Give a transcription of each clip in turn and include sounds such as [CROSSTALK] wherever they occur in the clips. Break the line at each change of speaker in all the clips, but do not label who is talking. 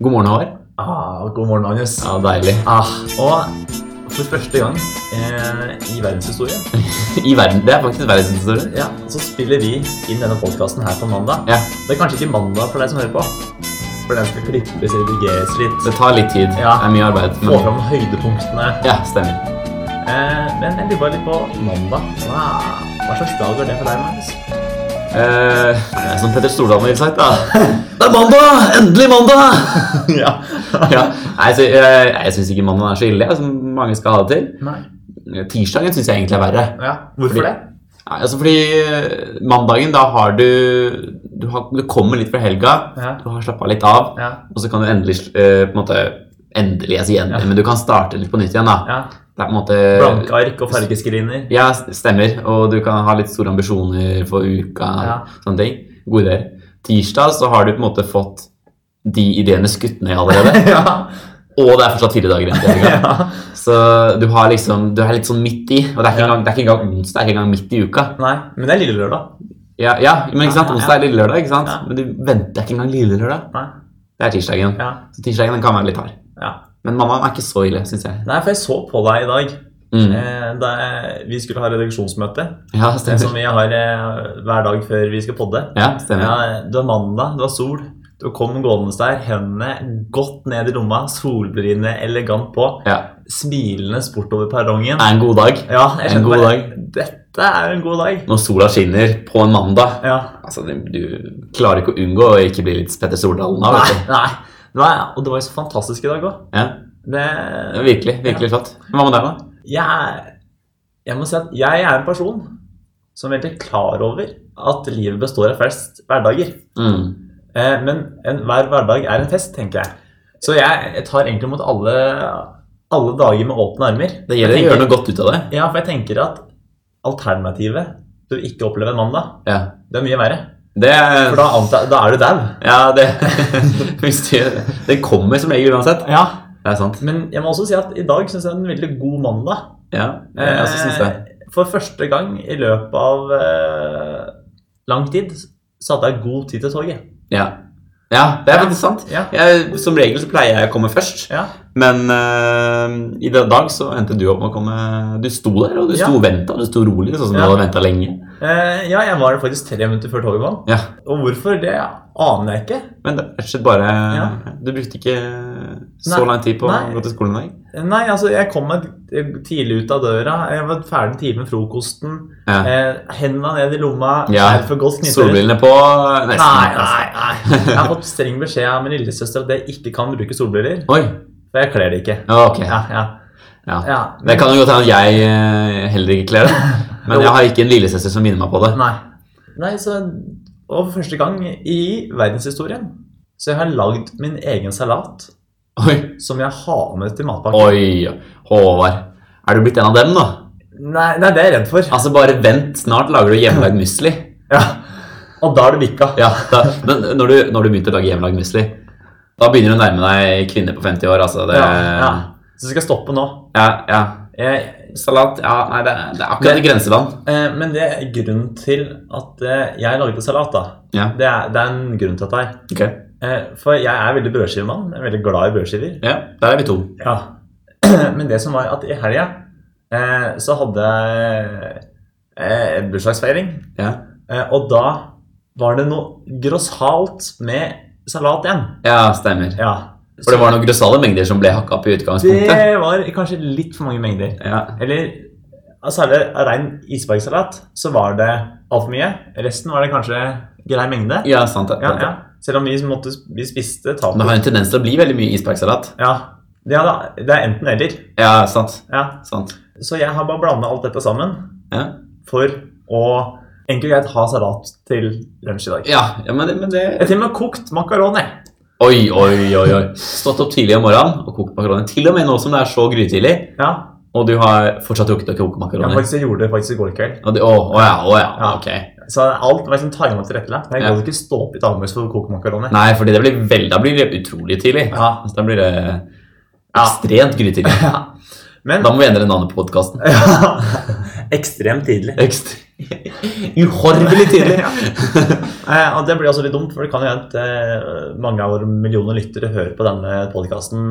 God morgen, Håvard.
Ah, god morgen, Magnus.
Ja, deilig.
Ah, og for første gang eh, i verdenshistorien
I verden, Det er faktisk verdenshistorien.
ja, så spiller vi inn denne podkasten her på mandag.
Ja,
Det er kanskje ikke mandag for deg som hører på, for den skal klippes, redigeres litt,
det tar litt tid.
Ja.
Det er mye arbeid.
få fram høydepunktene.
Ja, stemmer.
Eh, men jeg lurer bare litt på mandag. Hva, hva slags dag er det for deg, Magnus?
Eh, som Petter Stordalen ville sagt, da. Det er mandag! Endelig mandag!
[LAUGHS] ja.
[LAUGHS] ja, nei, så, eh, jeg syns ikke mandag er så ille, som mange skal ha det til.
Nei.
Tirsdagen syns jeg egentlig er verre.
Ja. Hvorfor det?
Nei, altså fordi eh, mandagen, da har du Du, har, du kommer litt fra helga.
Ja.
Du har slappa litt av.
Ja.
Og så kan du endelig eh, på en måte, Endelig, jeg sier endelig,
Ja.
men du kan starte litt på nytt igjen. da.
ja.
Det er på en måte...
Blanke ark og fargeskriner.
Ja, s- stemmer. Og du kan ha litt store ambisjoner for uka.
Ja.
sånne ting. Gode ideer. Tirsdag så har du på en måte fått de ideene skutt ned allerede.
[LAUGHS]
[LAUGHS]
ja.
og det er fortsatt fire dager igjen til helga.
[LAUGHS] ja.
Så du, har liksom, du er litt sånn midt i. Og det er ikke
Ja.
engang, det er ikke engang onsdag, det er ikke engang midt i uka.
Nei, men det er lille lørdag.
Ja, ja men ikke sant?
Ja, ja, ja.
Onsdag er lille lørdag, ikke sant?
Ja.
Men du venter ikke engang lille lørdag.
Nei.
Det er tirsdagen.
Ja.
Så tirsdagen den kan være litt hard.
ja.
Men mammaen er ikke så ille, syns jeg.
Nei, for jeg så på deg i dag
Mm.
eh, da jeg- vi skulle ha redaksjonsmøte.
Ja,
Det som
stemmer.
vi har eh, hver dag før vi skal podde.
Ja, stemmer.
Ja, det var mandag, det var sol. Du kom gående der, hendene godt ned i lomma, solbrillene elegant på,
Ja.
smilende bortover perrongen.
Det er en god dag.
Ja, jeg
En
skjønte
god
bare, Dette er en god dag.
Når sola skinner på en mandag
Ja.
Altså, du, du klarer ikke å unngå å ikke bli litt Petter Stordalen da,
Nei,
vet du.
nei. Det var, og det var jo så fantastisk i dag òg.
Ja, det er virkelig, virkelig flott. Hva med deg, da?
jeg, er- jeg må si at jeg er en person som er veldig klar over at livet består av flest hverdager.
Mm.
Eh, men enhver hverdag er en fest, tenker jeg. Så jeg, jeg tar egentlig mot alle, alle dager med åpne armer.
Det gjelder å
Jeg tenker-
gjøre noe godt ut av det.
Ja, for jeg tenker at alternativet til å ikke oppleve en mandag,
Ja.
det er mye verre.
Det,
For da, antar, da er du dau.
ja, det, [LAUGHS] hvis du, det kommer som regel uansett.
Ja.
Det er sant.
Men jeg må også si at i dag syns jeg er en veldig god mandag.
Ja, jeg også synes det.
Eh, For første gang i løpet av eh, lang tid så hadde jeg god tid til toget.
Ja. ja, det er faktisk sant.
Ja.
Jeg, som regel så pleier jeg å komme først,
Ja.
men eh, i den dag så endte du opp med å komme Du sto der, og du sto
Ja.
og venta. Du sto rolig, sånn som
Ja.
du hadde venta lenge.
Eh, ja, jeg var der faktisk tre minutter før toget kom.
Ja,
Og hvorfor, det aner jeg ikke.
Men det er rett og slett bare
Ja.
Du brukte ikke så
Nei.
lang tid på
Nei.
å gå til skolen i dag?
Nei, altså, jeg kom meg tidlig ut av døra. Jeg var ferdig tidlig med frokosten.
Ja.
Eh, hendene ned i lomma.
Ja.
Er for godt knyttet.
Solbrillene på nesten.
Nei,
altså.
nei, nei. Jeg har fått streng beskjed av min lillesøster at jeg ikke kan bruke solbriller.
Oi,
For jeg kler det ikke.
ja, ok.
Ja, ja.
Ja.
ja.
Det kan jo godt hende at jeg eh, heller ikke kler det.
[LAUGHS]
Men jeg har ikke en lillesøster som minner meg på det.
Nei. Nei, så Og for første gang i verdenshistorien så jeg har lagd min egen salat
Oi,
som jeg har med til matpakken.
oi, Håvard. Er du blitt en av dem, da?
Nei, nei, det er jeg redd for.
Altså, bare vent. Snart lager du hjemmelagd musli.
Ja. Og da er det vikka.
Ja, da, men når du, når du begynte å lage hjemmelagd musli, da begynner du å nærme deg kvinner på 50 år, altså. Det,
Ja, ja. Så skal jeg stoppe nå.
ja, ja.
Jeg,
Salat Ja, nei, det, er- det er akkurat i grenseland.
eh, men det er grunnen til at eh, jeg lagde salat, da.
Ja.
Det er, det er en grunn til dette her.
Ok.
Eh, for jeg er veldig brødskivemann. Jeg er veldig glad i brødskiver.
Ja, der er vi to.
Ja. [CLEARS THROAT] Men det som var at i helga eh, så hadde jeg eh, en bursdagsfeiring.
Ja.
Eh, Og da var det noe grossalt med salat igjen.
ja, stemmer.
Ja.
For det var noen grossale mengder som ble hakka opp i utgangspunktet.
Det var kanskje litt for mange mengder.
Ja.
Eller altså, særlig av rein isbergsalat så var det altfor mye. Resten var det kanskje grei mengde.
Ja, sant det.
Ja,
sant det.
ja. Selv om vi, måtte, vi spiste
Men Det
taco.
har en tendens til å bli veldig mye isbergsalat.
Ja, det er, det er enten eller.
Ja, sant.
Ja.
sant.
Så jeg har bare blanda alt dette sammen
Ja,
for å enkelt og greit ha salat til lunsj i dag.
ja, ja men, det, men det
Jeg har til og med kokt makaroni.
Oi, oi, oi. oi. Stått opp tidlig om morgenen og kokt makaroni. Til og med nå som det er så grytidlig,
Ja,
og du har fortsatt rukket å koke
jeg,
makaroni.
faktisk, jeg gjorde det faktisk i går kveld.
Og det- Å å ja, å ja.
Ja.
Ok.
Så alt var liksom timet tilrettelagt. Jeg
Ja.
gadd ikke stå opp i dagmøys for å koke makaroni.
Nei, fordi det blir veldig, da blir det utrolig tidlig.
Ja.
Altså, Da blir det
Ja.
ekstremt
[LAUGHS]
grytidlig.
Men [LAUGHS]
Da må vi endre navnet på podkasten.
ja. Ekstremt tidlig.
Ekstremt
[LAUGHS]
Uhorvelig tidlig!
Eh, og det blir også litt dumt, for det kan jo hende at eh, mange av våre millioner lyttere hører på denne podkasten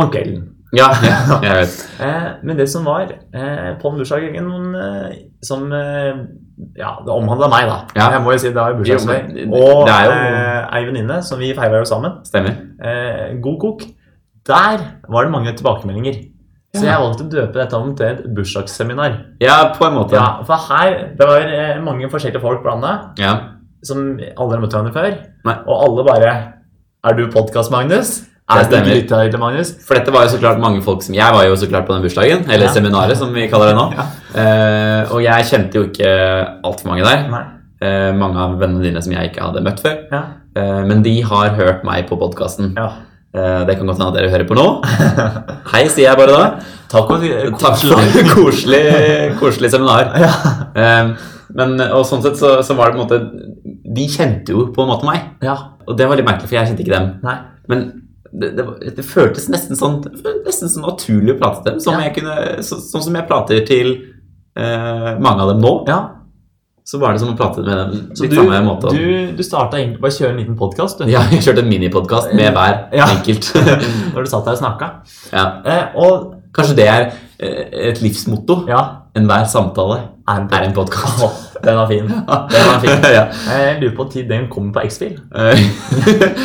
om kvelden. [LAUGHS]
ja, ja, jeg vet.
Eh, men det som var eh, på den bursdagen eh, som eh, ja, det omhandla meg, da.
Ja.
Jeg må jo si det var jo
Jo, men
bursdagsdag.
det-
Og
det er jo-
eh, ei venninne som vi feira jo sammen.
Stemmer.
Eh, god kok. Der var det mange tilbakemeldinger. Så
Ja.
jeg valgte å døpe dette om til et bursdagsseminar.
Ja, på en måte.
Ja, for her det var eh, mange forskjellige folk blanda,
Ja.
som aldri har møtt hverandre før.
Nei.
Og alle bare Er du podkast-Magnus? Er du
stemmer.
Glitter-Magnus?
For dette var jo så klart mange folk som Jeg var jo så klart på den bursdagen, eller
Ja.
seminaret, som vi kaller det nå.
Ja.
Eh, og jeg kjente jo ikke altfor mange der.
Nei.
Eh, mange av vennene dine som jeg ikke hadde møtt før.
Ja.
Eh, men de har hørt meg på podkasten.
ja.
Eh, det kan godt hende at dere hører på nå. Hei, sier jeg bare da.
Takk og
Takk
[LAUGHS]
for koselig, [LAUGHS] koselig seminar.
Ja.
Eh, men, og sånn sett så, så var det på en måte De kjente jo på en måte meg.
ja.
Og det var litt merkelig, for jeg kjente ikke dem.
Nei.
Men det, det, var- det føltes nesten sånn Nesten sånn naturlig å prate til dem. Som
Ja.
jeg kunne, så, sånn som jeg prater til eh, mange av dem nå.
Ja.
Så var det som å prate med dem
Så
litt
du,
samme måte.
du, du starta egentlig bare å kjøre en liten podkast, du.
Ja, jeg kjørte en minipodkast med hver
Ja.
enkelt.
[LAUGHS]
[LAUGHS]
Når du satt der og snakka.
ja.
Eh, og
Kanskje det er eh, et livsmotto.
ja,
Enhver samtale
er en
er en podkast.
[LAUGHS] Åh, Den var fin. Den var
[LAUGHS]
fin.
ja.
Eh, Jeg lurer på når den kommer på X-Fil.
Eh, [LAUGHS]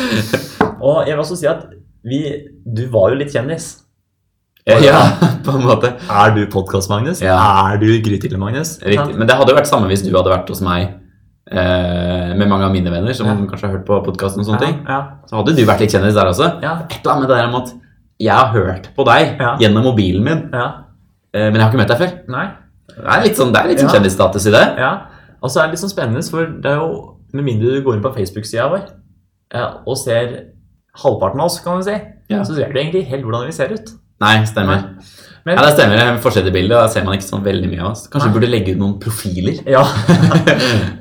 Og jeg vil også si at vi, du var jo litt kjendis.
ja, på en måte.
Er du podkast-Magnus?
Ja.
Er du Grytidlig-Magnus?
Riktig. Men det hadde jo vært samme hvis du hadde vært hos meg eh, med mange av mine venner som
Ja.
kanskje har hørt på podkasten og sånne ting.
Ja,
Så hadde du vært litt kjendis der også.
ja,
Et eller annet med det der om at jeg har hørt på deg
Ja.
gjennom mobilen min,
ja.
eh, men jeg har ikke møtt deg før.
Nei.
Det er litt sånn, det er litt sånn
Ja.
kjendisstatus i det.
Ja. Og så er det litt sånn spennende, for det er jo Med mindre du går inn på Facebook-sida vår eh, og ser halvparten av oss, kan du si,
Ja.
så ser du egentlig helt hvordan vi ser ut.
Nei, stemmer.
Men-
ja, det stemmer. Jeg Forskjell i bildet, da ser man ikke sånn veldig mye av oss. Kanskje
Nei.
vi burde legge ut noen
[LAUGHS]
profiler?
Ja.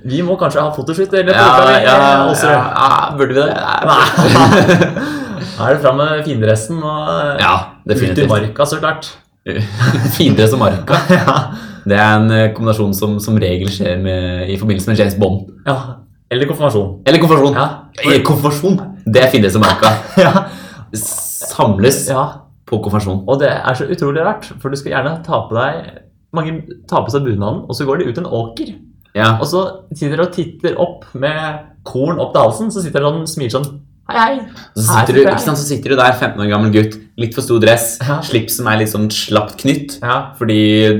vi må kanskje ha fotoshoot
Ja,
eller
ja,
fotokalender,
ja,
eh, også. [LAUGHS]
ja, burde vi det?
Nei. Da er det fram med findressen og eh,
Ja,
ut i
definitivt.
marka, så klart. [LAUGHS]
[LAUGHS] Findre som marka.
ja.
Det er en eh, kombinasjon som som regel skjer med, i forbindelse med James Bond.
ja. Eller konfirmasjon.
Eller konfirmasjon.
Ja.
Eh, Konfirmasjon! Det er Findre som marka.
ja.
Samles
[LAUGHS] ja.
på konfirmasjon.
Og det er så utrolig rart, for du skal gjerne ta på deg Mange tar på seg bunaden, og så går de ut en åker.
Ja.
Og så sitter de og titter opp med korn opp til halsen, så sitter de og smiler sånn Hei, hei.
Så
Her
sitter, du,
sitter jeg.
ikke sant, så sitter du der, 15 år gammel gutt, litt for stor dress,
Ja.
slips som er litt sånn slapt knytt,
Ja.
fordi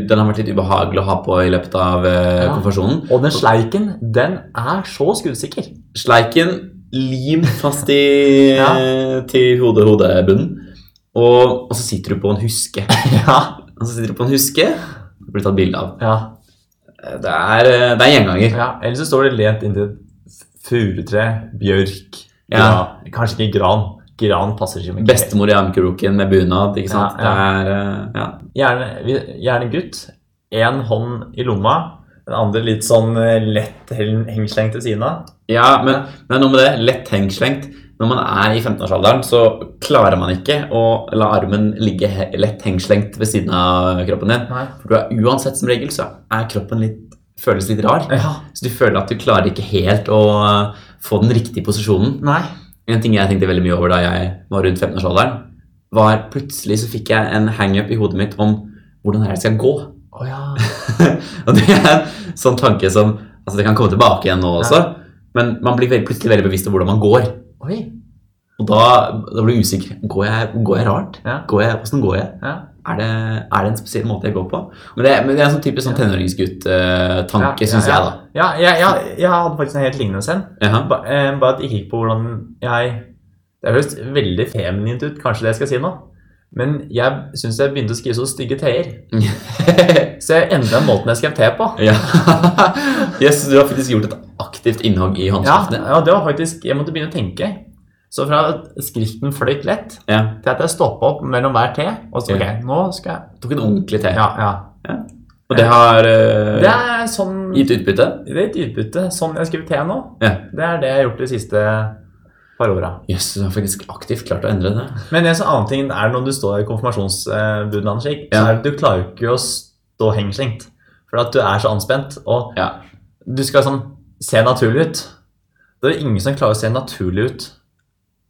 den har vært litt ubehagelig å ha på i løpet av eh,
Ja.
konfirmasjonen.
Og den sleiken, den er så skuddsikker.
Sleiken lim fast i,
[LAUGHS]
eh,
Ja.
til hodet, hodebunnen, og, og så sitter du på en huske.
[LAUGHS] Ja.
Og så sitter du på en huske, og blir tatt bilde av.
ja.
Det er, eh, det er gjenganger.
ja. Eller så står det lent inntil et furutre, bjørk,
Ja.
gran. Kanskje ikke gran. Gran passer ikke. men-
Bestemor i armkroken med bunad, ikke sant?
Ja, ja.
Det er, eh, ja.
Gjerne, vi- gjerne gutt. Én hånd i lomma, den andre litt sånn eh, lett hel- hengslengt til siden av.
Ja, men, men noe med det. Lett hengslengt. Når man er i 15-årsalderen, så klarer man ikke å la armen ligge he lett hengslengt ved siden av kroppen din.
Nei.
For du er, uansett som regel så er kroppen litt føles litt rar.
Ja.
Så du føler at du klarer ikke helt å eh, få den riktige posisjonen.
Nei.
En ting jeg tenkte veldig mye over da jeg var rundt 15-årsalderen, var plutselig så fikk jeg en hangup i hodet mitt om hvordan er det jeg skal gå. [LAUGHS]
Å ja.
og det er en sånn tanke som altså Det kan komme tilbake igjen nå også, men man blir veldig, plutselig veldig bevisst om hvordan man går.
Oi.
Og da, da blir du usikker. Går jeg, går jeg rart?
Ja.
Går jeg, hvordan går jeg?
Ja.
Er det, er det en spesiell måte jeg går på? Men det, men det er en sånn typisk sånn
Ja,
tenåringsgutt-tanke,
ja,
syns
ja.
jeg, da.
Ja, jeg, jeg, jeg hadde faktisk en helt lignende en.
Jaha. [LAUGHS]
Ba- eh, Bare at jeg gikk på hvordan jeg Det høres veldig feminint ut, kanskje det jeg skal si nå. Men jeg syns jeg begynte å skrive så stygge t-er. Så jeg endra måten jeg skrev t på.
ja. [LAUGHS] yes, du har faktisk gjort et aktivt innhogg i
Ja,
håndskriftene.
ja, det var faktisk Jeg måtte begynne å tenke. Så fra at skriften fløyt lett,
Ja.
til at jeg stoppa opp mellom hver t. Og så, ok, nå skal jeg
Tok en ordentlig te.
Ja, ja.
Og det har eh,
Det er sånn
gitt utbytte.
Det er et utbytte. Sånn jeg skriver T nå,
Ja.
det er det jeg har gjort de siste par åra.
Jøss, du har faktisk aktivt klart å endre det.
Men en sånn annen ting er når du står i konfirmasjonsbunaden slik, så
Ja.
er det- du klarer jo ikke å stå hengslengt. For at du er så anspent, og
Ja.
du skal sånn se naturlig ut. Det er ingen som klarer å se naturlig ut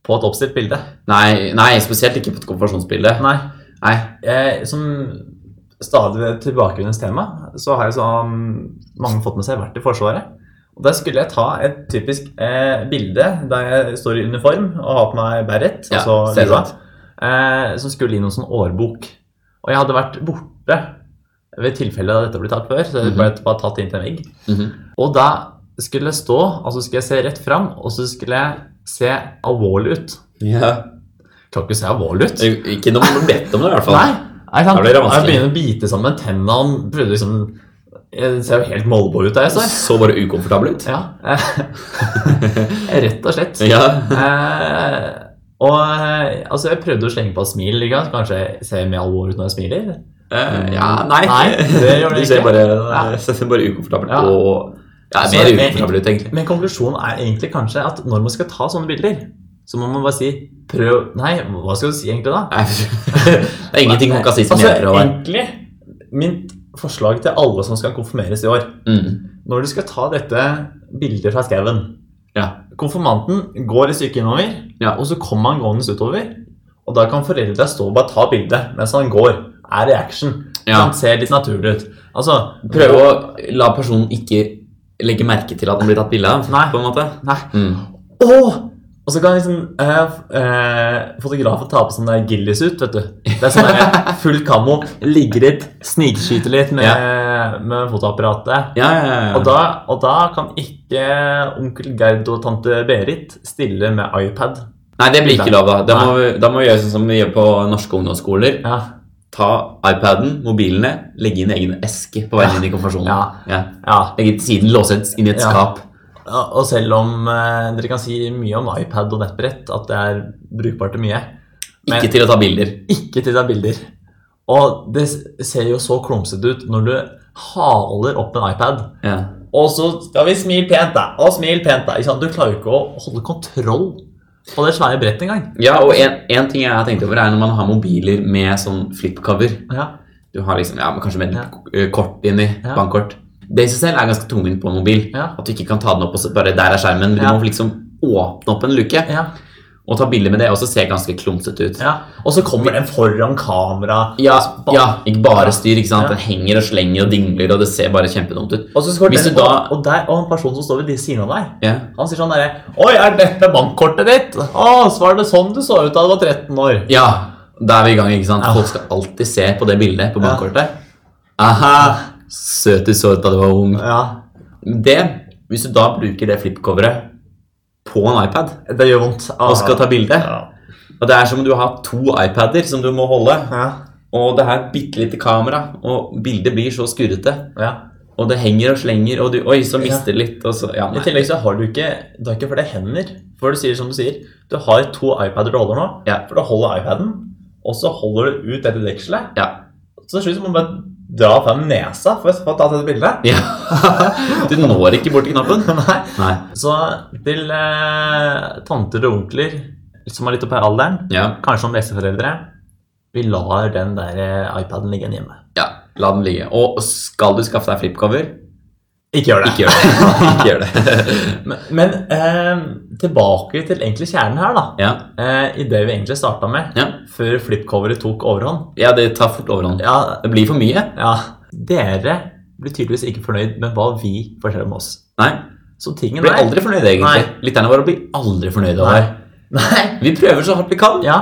på et oppstilt bilde.
Nei, nei, spesielt ikke på et konfirmasjonsbilde.
Nei,
Nei.
jeg, som stadig tilbakevendende tema, så har jo sånn mange fått med seg vært i Forsvaret. Og der skulle jeg ta et typisk eh, bilde der jeg står i uniform og har på meg beret,
Ja,
altså lua,
selvsagt.
eh, som skulle i noen sånn årbok. Og jeg hadde vært borte ved tilfellet da dette ble tatt før, så jeg ble bare tatt inn til en vegg.
Mhm.
Og da skulle jeg stå, og så skulle jeg se rett fram, og så skulle jeg se alvorlig ut.
ja.
Klarer ikke å se alvorlig ut.
Ikke når man blir bedt om det, i hvert fall.
Nei, er sant?
Da blir det
jeg
vanskelig.
begynner å bite sammen tenna og prøvde liksom Jeg ser jo helt molbo ut da jeg står.
Så bare ukomfortabel ut.
Ja. [LAUGHS] Rett og slett.
Ja.
Eh, og eh, altså, jeg prøvde å slenge på et smil. Ikke? sant? Kanskje jeg ser mer alvorlig ut når jeg smiler.
Eh, ja nei.
Mm. Nei, det gjør
[LAUGHS]
det
du ser
ikke.
bare,
Ja.
ser bare ukomfortabel
Ja.
og ja,
Så
mer
det-
ukomfortabel ut, egentlig.
Men konklusjonen er egentlig kanskje at når man skal ta sånne bilder, så må man bare si prøv Nei, hva skal du si egentlig da? [LAUGHS]
Nei, [LAUGHS] det er ingenting man kan si som
altså,
hjelper. Håvard.
Egentlig, mitt forslag til alle som skal konfirmeres i år
Mm.
Når du skal ta dette bildet fra skauen
Ja.
Konfirmanten går et stykke innover,
Ja.
og så kommer han gående utover. Og da kan foreldra stå og bare ta bildet mens han går. Er i action.
Ja.
Han ser litt naturlig ut. Altså,
Prøve å la personen ikke legge merke til at den blir tatt bilde av.
Nei.
på en måte.
Nei.
Mm.
Åh! Og så kan liksom eh, f- eh, fotografen ta på sånn der gillis ut, vet du. Det er sånn der full kammo, ligge litt, snikskyte litt med, med fotoapparatet.
Ja, ja, ja, ja.
Og da, og da kan ikke onkel Gerd og tante Berit stille med iPad.
Nei, det blir ikke lov, da. Da må, vi, da må vi gjøre sånn som vi gjør på norske ungdomsskoler.
Ja,
Ta iPaden, mobilene, legge inn egen eske på veien inn i konfirmasjonen.
ja,
Ja.
ja.
Legge til siden, låse inn i et
Ja.
skap.
Og selv om eh, dere kan si mye om iPad og nettbrett, at det er brukbart til mye, Men-
Ikke til å ta bilder.
ikke til deg bilder. Og det ser jo så klumsete ut når du haler opp en iPad.
Ja.
Og så skal vi smile pent, da. Og smil pent, da. Ikke sant? Du klarer jo ikke å holde kontroll på det svære brettet engang.
Ja, og en, en ting jeg har tenkt over er når man har mobiler med sånn flipcover.
Ja.
Du har liksom, ja, men kanskje med
Ja.
eh, kort inni,
Ja.
bankkort. Det i seg selv er ganske tungvint på en mobil.
Ja.
At du ikke kan ta den opp og så bare der er skjermen. men Du
Ja.
må liksom åpne opp en luke
Ja.
og ta bilder med det, og så ser ganske klumsete ut.
ja. Og så kommer den foran kamera.
Ja,
Ba-
ja, ikke bare styr, ikke sant?
Ja.
Den henger og slenger og dingler, og det ser bare kjempedumt ut.
Og så skal
Hvis
den,
du da-
og, og der, og en person som står ved de siden av deg,
Ja.
han sier sånn derre Oi, er dette bankkortet ditt? Å, så var det sånn du så ut da du var 13 år.
ja, da er vi i gang, ikke sant?
Ja.
Folk skal alltid se på det bildet på
Ah. Ja.
bankkortet. Aha, søt du så ut da du var ung.
Ja.
Det, hvis du da bruker det flippcoveret på en iPad
Det gjør vondt.
og skal ta bilde
Ja.
Og det er som om du har to iPader som du må holde,
Ja.
og det er et bitte lite kamera, og bildet blir så skurrete.
ja.
Og det henger og slenger, og du Oi, så mister det litt, og så Ja,
I
nei.
tillegg så har du ikke Du har ikke flere hender. For du sier som du sier, du har to iPader du holder nå.
Ja.
For du holder iPaden, og så holder du ut dette dekselet.
Ja. [LAUGHS]
Så til slutt må du bare dra frem nesa for å få tatt dette bildet. [LAUGHS]
ja. Du når ikke bort til knappen.
Nei.
Nei.
Så til eh, tanter og onkler som er litt oppe i alderen,
Ja.
kanskje som besteforeldre, vi lar den der eh, iPaden ligge igjen hjemme.
ja. La den ligge. Og skal du skaffe deg flipcover,
Ikke gjør det.
ikke gjør det. [LAUGHS] Ikke gjør det.
Men, men eh, tilbake til egentlig kjernen her, da.
Ja.
Eh, I det vi egentlig starta med,
Ja.
før flipcoveret tok overhånd.
ja, det tar fort overhånd.
Ja,
Det blir for mye.
ja. Dere blir tydeligvis ikke fornøyd med hva vi forteller om oss.
Nei.
Så tingen
Vi blir aldri fornøyde, egentlig.
Nei.
Lytterne våre blir aldri fornøyde.
Nei.
Over.
Nei.
Vi prøver så hardt vi kan.
Ja.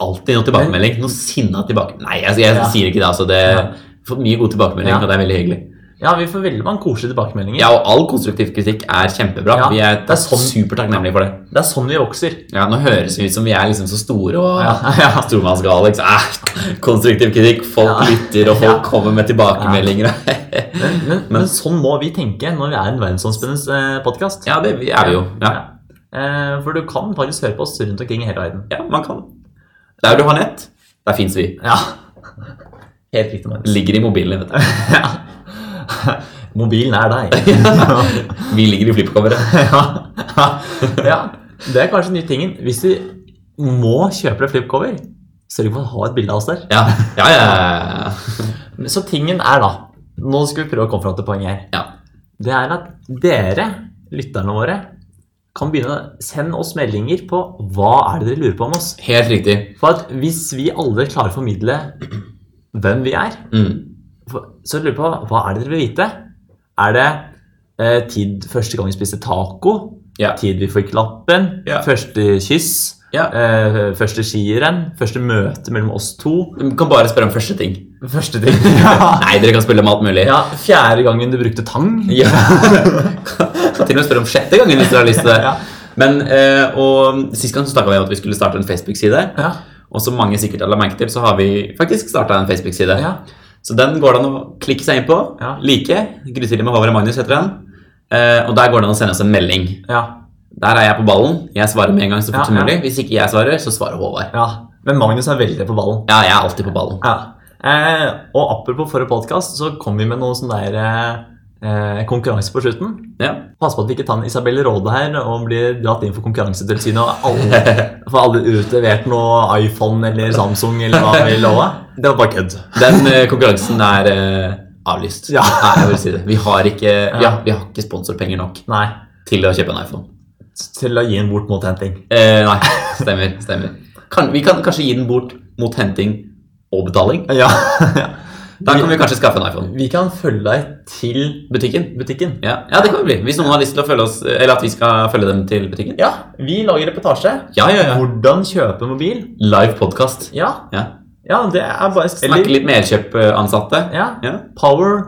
Alltid noe tilbakemelding. Noe sinna tilbake... Nei, jeg, jeg
Ja.
sier ikke det. altså. Det
Ja.
Fått mye god tilbakemelding,
Ja.
og det er veldig hyggelig.
ja, vi får veldig mange koselige tilbakemeldinger.
Ja, og all konstruktiv kritikk er kjempebra.
Ja,
Vi er,
det er sånn-
supertakknemlige for det.
Det er sånn vi vokser.
Ja, Nå høres det ut som vi er liksom så store og
Ja, [LAUGHS]
ja. stormannsgale. ikke sant? Ah, konstruktiv kritikk, folk
Ja.
lytter, og folk
Ja.
kommer med tilbakemeldinger.
Men, men, men, sånn må vi tenke når vi er en verdensomspennende eh, podkast.
[LAUGHS] ja, det vi er vi jo. Ja.
Eh, for du kan faktisk høre på oss rundt omkring i hele verden.
ja, man kan. Der du har nett, der fins vi.
Ja. Helt riktig, Magnus.
Ligger i mobilene, vet du.
Ja. Mobilen er deg.
Vi ligger i flippcoveret.
[LAUGHS]
[LAUGHS]
ja. [LAUGHS] ja. Det er kanskje den nye tingen. Hvis du må kjøpe deg flipcover, sørg for å ha et bilde av oss der.
Ja, ja, ja. ja.
Men Så tingen er da Nå skal vi prøve å komme fram til poenget her.
Ja.
Det er at dere, lytterne våre, kan begynne å sende oss meldinger på hva er det dere lurer på om oss.
Helt riktig.
For at hvis vi aldri klarer å formidle hvem vi er,
Mm.
for- så lurer jeg på hva er det dere vil vite? Er det eh, tid første gang vi spiste taco?
Ja.
Tid vi får klappen?
Ja.
Første kyss?
Ja.
Eh, første skirenn? Første møte mellom oss to?
Du kan bare spørre om første ting.
Første [LAUGHS] ting.
Nei, dere kan spille om alt mulig.
ja, fjerde gangen du brukte tang?
[LAUGHS] Ja. Til og med spørre om sjette gangen hvis dere har lyst til det.
Ja.
Men, eh, og Sist gang så snakka vi om at vi skulle starte en Facebook-side.
Ja.
Og som mange sikkert har lagt merke til, så har vi faktisk starta en Facebook-side.
Ja.
Så den går det an å klikke seg inn på.
Ja.
Like. Grytidlig med Håvard og Magnus heter den. Eh, og der går det an å sende oss en melding.
ja.
Der er jeg på ballen. Jeg svarer med en gang så fort
Ja,
som
ja.
mulig. Hvis ikke jeg svarer, så svarer Håvard.
ja. Men Magnus er veldig på ballen.
Ja, jeg er alltid på ballen.
Ja. Eh, og apropos forrige podkast, så kom vi med noe sånn der eh, konkurranse på slutten.
Ja.
Pass på at vi ikke tar en Isabel Råde her og blir dratt inn for konkurransetilsynet og alle [LAUGHS] får alle utlevert noe iPhone eller Samsung eller hva vi lova. Det var bare kødd.
Den eh, konkurransen er eh, avlyst.
Ja.
Nei, jeg vil si det. Vi har ikke, ja, vi har ikke sponsorpenger nok
Nei.
til å kjøpe en iPhone.
Til å gi en bort mot henting.
Eh, nei, stemmer. stemmer. Kan, vi kan kanskje gi den bort mot henting og betaling.
Ja.
Da kan vi kanskje skaffe en iPhone.
[LAUGHS] Vi kan følge deg til
Butikken.
butikken.
Ja, ja det kan vi bli. Hvis noen har lyst til å følge oss, eller at vi skal følge dem til butikken.
Ja, vi lager reportasje.
Ja, ja, ja.
Hvordan kjøpe mobil.
Live podkast.
Ja,
Ja.
ja det er bare
Snakke litt med Elkjøp-ansatte.
Ja.
Ja.
Power,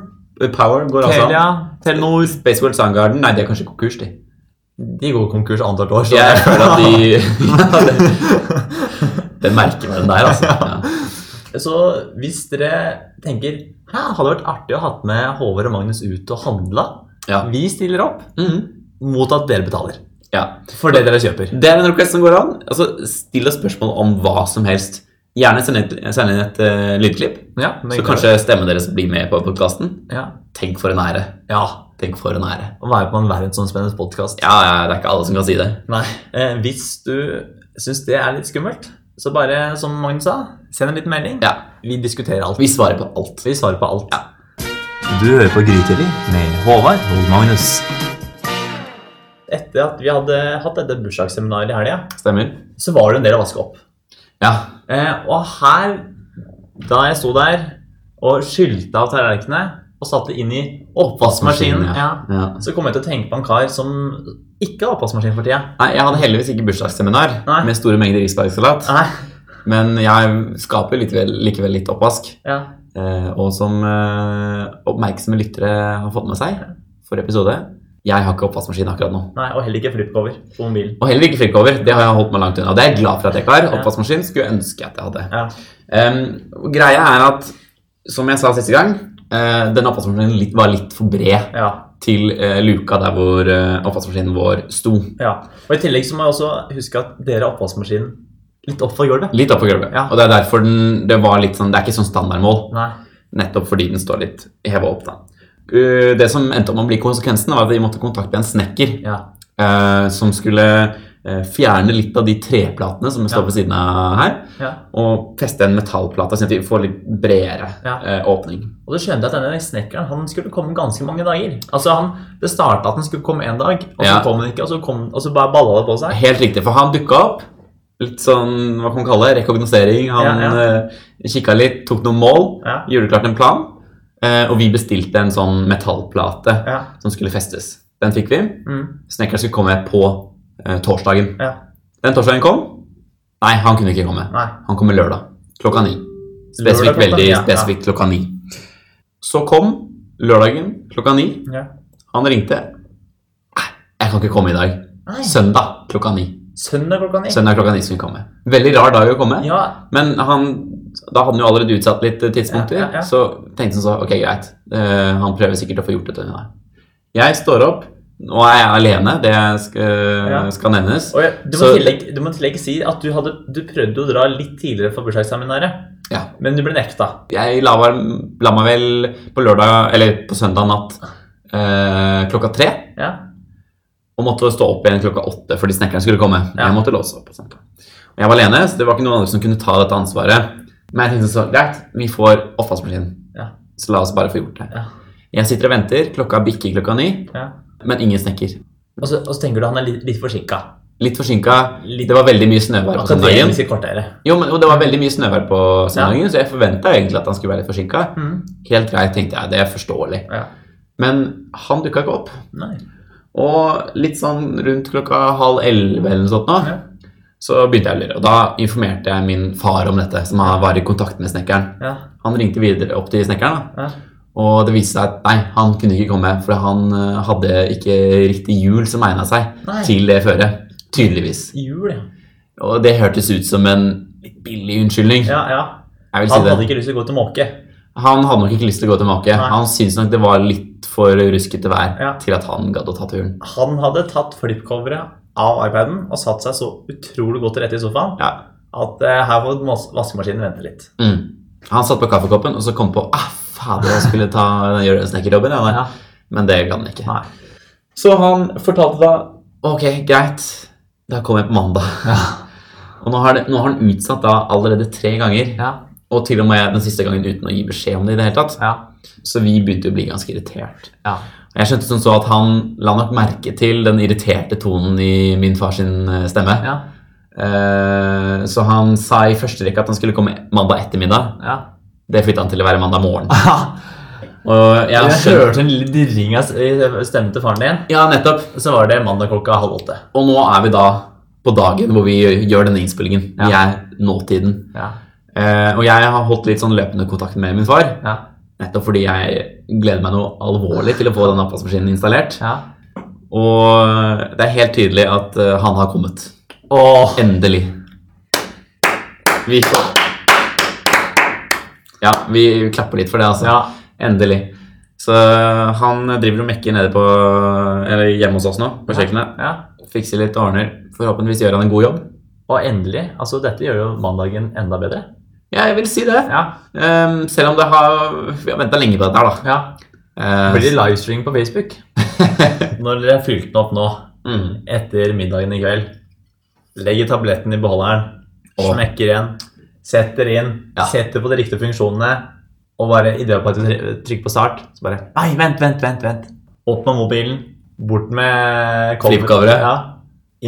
Power går altså
Telia,
an.
Telenor
Space World Soundgarden Nei, de er kanskje konkurs, de.
De går konkurs annethvert år. Så
Jeg føler at [LAUGHS] de ja, det, det merker man den der, altså. Ja.
Så hvis dere tenker Hæ, hadde det vært artig å ha med Håvard og Magnus ut og handla?
Ja.
Vi stiller opp
Mhm.
mot at dere betaler.
ja.
For det dere kjøper.
Det er en request som går an. Altså, Still oss spørsmål om hva som helst. Gjerne send inn send inn et eh, lydklipp,
Ja,
så kanskje stemmen deres blir med på podkasten.
Ja.
Tenk for en ære.
ja.
Tenk for en ære.
Å være på en verdensomspennende podkast.
Ja, ja, det er ikke alle som kan si det.
Nei. Eh, hvis du syns det er litt skummelt, så bare, som Magnus sa, send en liten melding.
Ja,
Vi diskuterer alt.
Vi svarer på alt.
Vi svarer på alt. Du hører på Grytidlig med Håvard og Magnus. Etter at vi hadde hatt dette bursdagsseminaret i helga,
Stemmer.
så var det en del å vaske opp.
Ja.
Eh, og her, da jeg sto der og skylte av tallerkenene og satte det inn i oppvaskmaskinen,
Maskinen,
ja.
ja.
så kom jeg til å tenke på en kar som ikke har oppvaskmaskin for tida.
Nei, Jeg hadde heldigvis ikke bursdagsseminar
Nei.
med store mengder risbergsalat.
Nei.
Men jeg skaper litt vel, likevel litt oppvask.
Ja.
Eh, og som eh, oppmerksomme lyttere har fått med seg for episode Jeg har ikke oppvaskmaskin akkurat nå.
Nei, og heller ikke flippcover på mobilen.
Og heller ikke frikkover. Det har jeg holdt meg langt unna. Det er jeg glad for at jeg ikke har. Oppvaskmaskin skulle jeg ønske at jeg hadde.
Ja.
Em, greia er at, som jeg sa siste gang, eh, denne oppvaskmaskinen litt, var litt for bred.
Ja,
til eh, luka der hvor eh, oppvaskmaskinen vår sto.
ja. Og i tillegg så må jeg også huske at dere har oppvaskmaskinen litt opp for gulvet.
Litt oppå gulvet.
Ja.
Og det er derfor den, det var litt sånn, det er ikke sånn standardmål.
Nei.
Nettopp fordi den står litt heva opp, da. Eh, det som endte om å bli konsekvensen, var at vi måtte kontakte en snekker
Ja.
eh, som skulle eh, fjerne litt av de treplatene som står
Ja.
ved siden av her,
ja.
og feste en metallplate, sånn at vi får litt bredere
Ja.
eh, åpning.
Og du skjønte jeg at denne snekkeren han skulle komme ganske mange dager. Altså han, Det starta at han skulle komme én dag, og så
Ja.
kom han ikke, og så, kom, og så bare balla det på seg.
Helt riktig, for han dukka opp. Litt sånn, hva kan man kalle det, rekognosering. Han
Ja,
ja, kikka litt, tok noen mål,
Ja.
gjorde klart en plan. eh, Og vi bestilte en sånn metallplate
Ja.
som skulle festes. Den fikk vi.
Mm.
Snekkeren skulle komme på eh, torsdagen.
Ja.
Den torsdagen kom. Nei, han kunne ikke komme.
Nei.
Han kommer lørdag klokka ni. Spesifikt
Lørdag klokka
veldig
ni, ja.
spesifikt klokka ni. Så kom lørdagen klokka ni.
Ja.
Han ringte. Nei, jeg kan ikke komme i dag.
Nei.
Søndag klokka ni.
Søndag klokka ni.
Søndag klokka ni skulle komme. Veldig rar dag å komme.
Ja,
Men han, da hadde han jo allerede utsatt litt eh, tidspunkter.
Ja, ja, ja.
Så tenkte han så, ok, greit. Eh, han prøver sikkert å få gjort det til henne. Jeg står opp. Nå er jeg alene, det skal,
Ja.
skal nevnes.
og jeg, du, må
Så-
tillegg, du må tillegg si at du, hadde, du prøvde å dra litt tidligere for bursdagsseminaret,
Ja.
men du ble nekta.
Jeg la, var- la meg vel på lørdag, eller på søndag natt eh, klokka tre.
Ja.
Og måtte stå opp igjen klokka åtte fordi snekkeren skulle komme.
Ja.
Jeg måtte låse opp. Og sånt. Og jeg var alene, så det var ikke noen andre som kunne ta dette ansvaret. Men jeg tenkte så, greit, vi får oppvaskmaskinen.
Ja.
Så la oss bare få gjort det.
Ja.
Jeg sitter og venter, klokka bikker klokka ni,
Ja.
men ingen snekker.
Og, så, og så tenker du han er litt, litt forsinka.
Litt forsinka.
Litt-
Det var veldig mye snøvær på søndagen.
Akademisk i kvarteret.
Jo, men og det var veldig mye snøvær på søndagen, så jeg forventa egentlig at han skulle være litt forsinka. Helt greit, tenkte jeg. Det er forståelig.
Ja.
Men han dukka ikke opp.
Nei.
Og litt sånn rundt klokka halv elleve eller noe sånt nå,
Ja.
så begynte jeg å lure. Og da informerte jeg min far om dette, som han var i kontakt med snekkeren.
Ja.
Han ringte videre opp til snekkeren, da.
Ja.
og det viste seg at nei, han kunne ikke komme, for han eh, hadde ikke riktig hjul som egna seg
Nei.
til det føret. Tydeligvis. [LAUGHS]
Jul, ja.
Og det hørtes ut som en litt billig unnskyldning.
ja, ja.
Jeg vil si
Han
det.
hadde ikke lyst til å gå til måke.
Han hadde nok ikke lyst til å gå til make.
Nei.
Han syntes nok det var litt for ruskete vær
Ja.
til at han gadd å ta turen.
Han hadde tatt flipcoveret av iPaden og satt seg så utrolig godt til rette i sofaen
Ja.
at eh, her får mas- vaskemaskinen vente litt.
Mm. Han satt på kaffekoppen og så kom på ah, fader, jeg skulle ta den gjørmesnekkerjobben. jeg, da».
Ja.
Men det gadd han ikke.
Nei.
Så han fortalte da Ok, greit. Da kommer jeg på mandag. [LAUGHS] Og nå har, det, nå har han utsatt da allerede tre ganger.
Ja.
Og til og med den siste gangen uten å gi beskjed om det i det hele tatt.
Ja.
Så vi begynte å bli ganske irritert.
Ja.
Og Jeg skjønte som så at han la nok merke til den irriterte tonen i min fars sin eh, stemme.
Ja.
Eh, Så han sa i første rekke at han skulle komme mandag ettermiddag.
ja.
Det flytta han til å være mandag morgen.
Jeg
Og jeg skjønte
hørte en liten dirring av s- stemmen til faren din.
Ja, nettopp.
Så var det mandag klokka halv åtte.
Og nå er vi da på dagen hvor vi gjør denne innspillingen. Vi
Ja.
er nåtiden.
Ja.
Eh, Og jeg har holdt litt sånn løpende kontakt med min far.
Ja.
Nettopp fordi jeg gleder meg noe alvorlig til å få den oppvaskmaskinen installert.
ja.
Og det er helt tydelig at eh, han har kommet.
Åh.
Endelig. Vi får Ja, vi klapper litt for det, altså.
Ja.
Endelig. Så eh, han driver og mekker nede på Eller hjemme hos oss nå, på kjøkkenet.
Ja.
Fikser litt og ordner. Forhåpentligvis gjør han en god jobb.
Og endelig. Altså, dette gjør jo mandagen enda bedre.
Ja, jeg vil si det.
Ja.
Ehm, selv om det har Vi har venta lenge på dette her, da.
ja.
Ehm,
Blir det livestream på [LAUGHS] Facebook? Når dere har fylt den opp nå,
mm.
etter middagen i kveld, legger tabletten i beholderen,
Åh.
smekker igjen, setter inn,
Ja.
setter på de riktige funksjonene, og bare i det øyeblikket du trykker på start, så bare Nei, vent, vent, vent. vent. Opp med mobilen, bort med cover-
Flipcoveret.
Ja.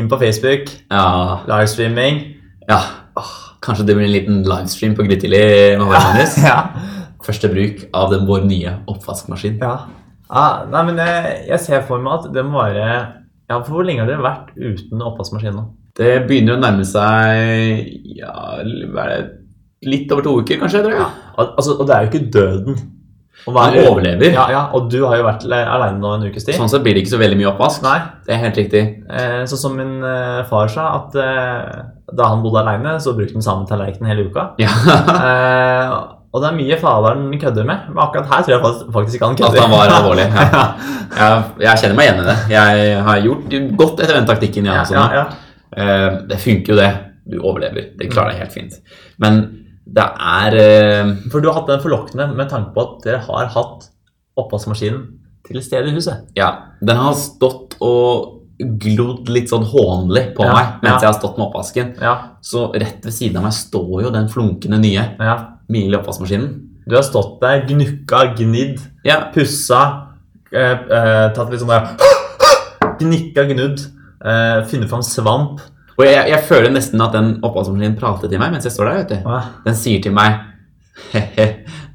Inn på Facebook,
ja,
livestreaming.
ja. Åh, Kanskje det blir en liten livestream på Grytidlig med Håvard
[LAUGHS]
Magnus.
Ja.
Første bruk av den vår nye oppvaskmaskin.
ja. Ah, nei, men jeg, jeg ser for meg at det må være Ja, for hvor lenge har dere vært uten oppvaskmaskin nå?
Det begynner å nærme seg ja, hva er det, litt over to uker, kanskje. Tror jeg.
Al altså, og det er jo ikke døden. Å
Han
være-
overlever.
Ja, ja, og du har jo vært le- alene nå en ukes tid.
Sånn sett blir det ikke så veldig mye oppvask.
Nei,
Det er helt riktig.
eh, Sånn som min eh, far sa, at eh, da han bodde alene, så brukte han samme tallerken hele uka.
[LAUGHS] Ja.
Eh, og det er mye faderen kødder med, men akkurat her tror jeg fakt- faktisk ikke
[LAUGHS]
han
At
kødder.
han var
[LAUGHS]
alvorlig. Ja. Jeg, jeg kjenner meg igjen i det. Jeg har gjort godt etter den taktikken.
ja,
Jeg, også
ja,
nå.
ja.
Eh, Det funker jo, det. Du overlever. Det
Mm.
klarer deg helt fint. Men det er eh,
For du har hatt den forlokkende med tanke på at dere har hatt oppvaskmaskinen til stede i huset.
Ja. Den har stått og glodd litt sånn hånlig på
Ja,
meg mens
ja.
jeg har stått med oppvasken.
Ja,
Så rett ved siden av meg står jo den flunkende nye
ja.
mile oppvaskmaskinen.
Du har stått der, gnukka, gnidd,
Ja,
pussa, eh, eh, tatt litt sånn der [GASPS] Gnikka, gnudd, eh, funnet fram svamp.
og jeg, jeg føler nesten at den oppvaskmaskinen prater til meg mens jeg står der. vet du.
Ja.
Den sier til meg He-he,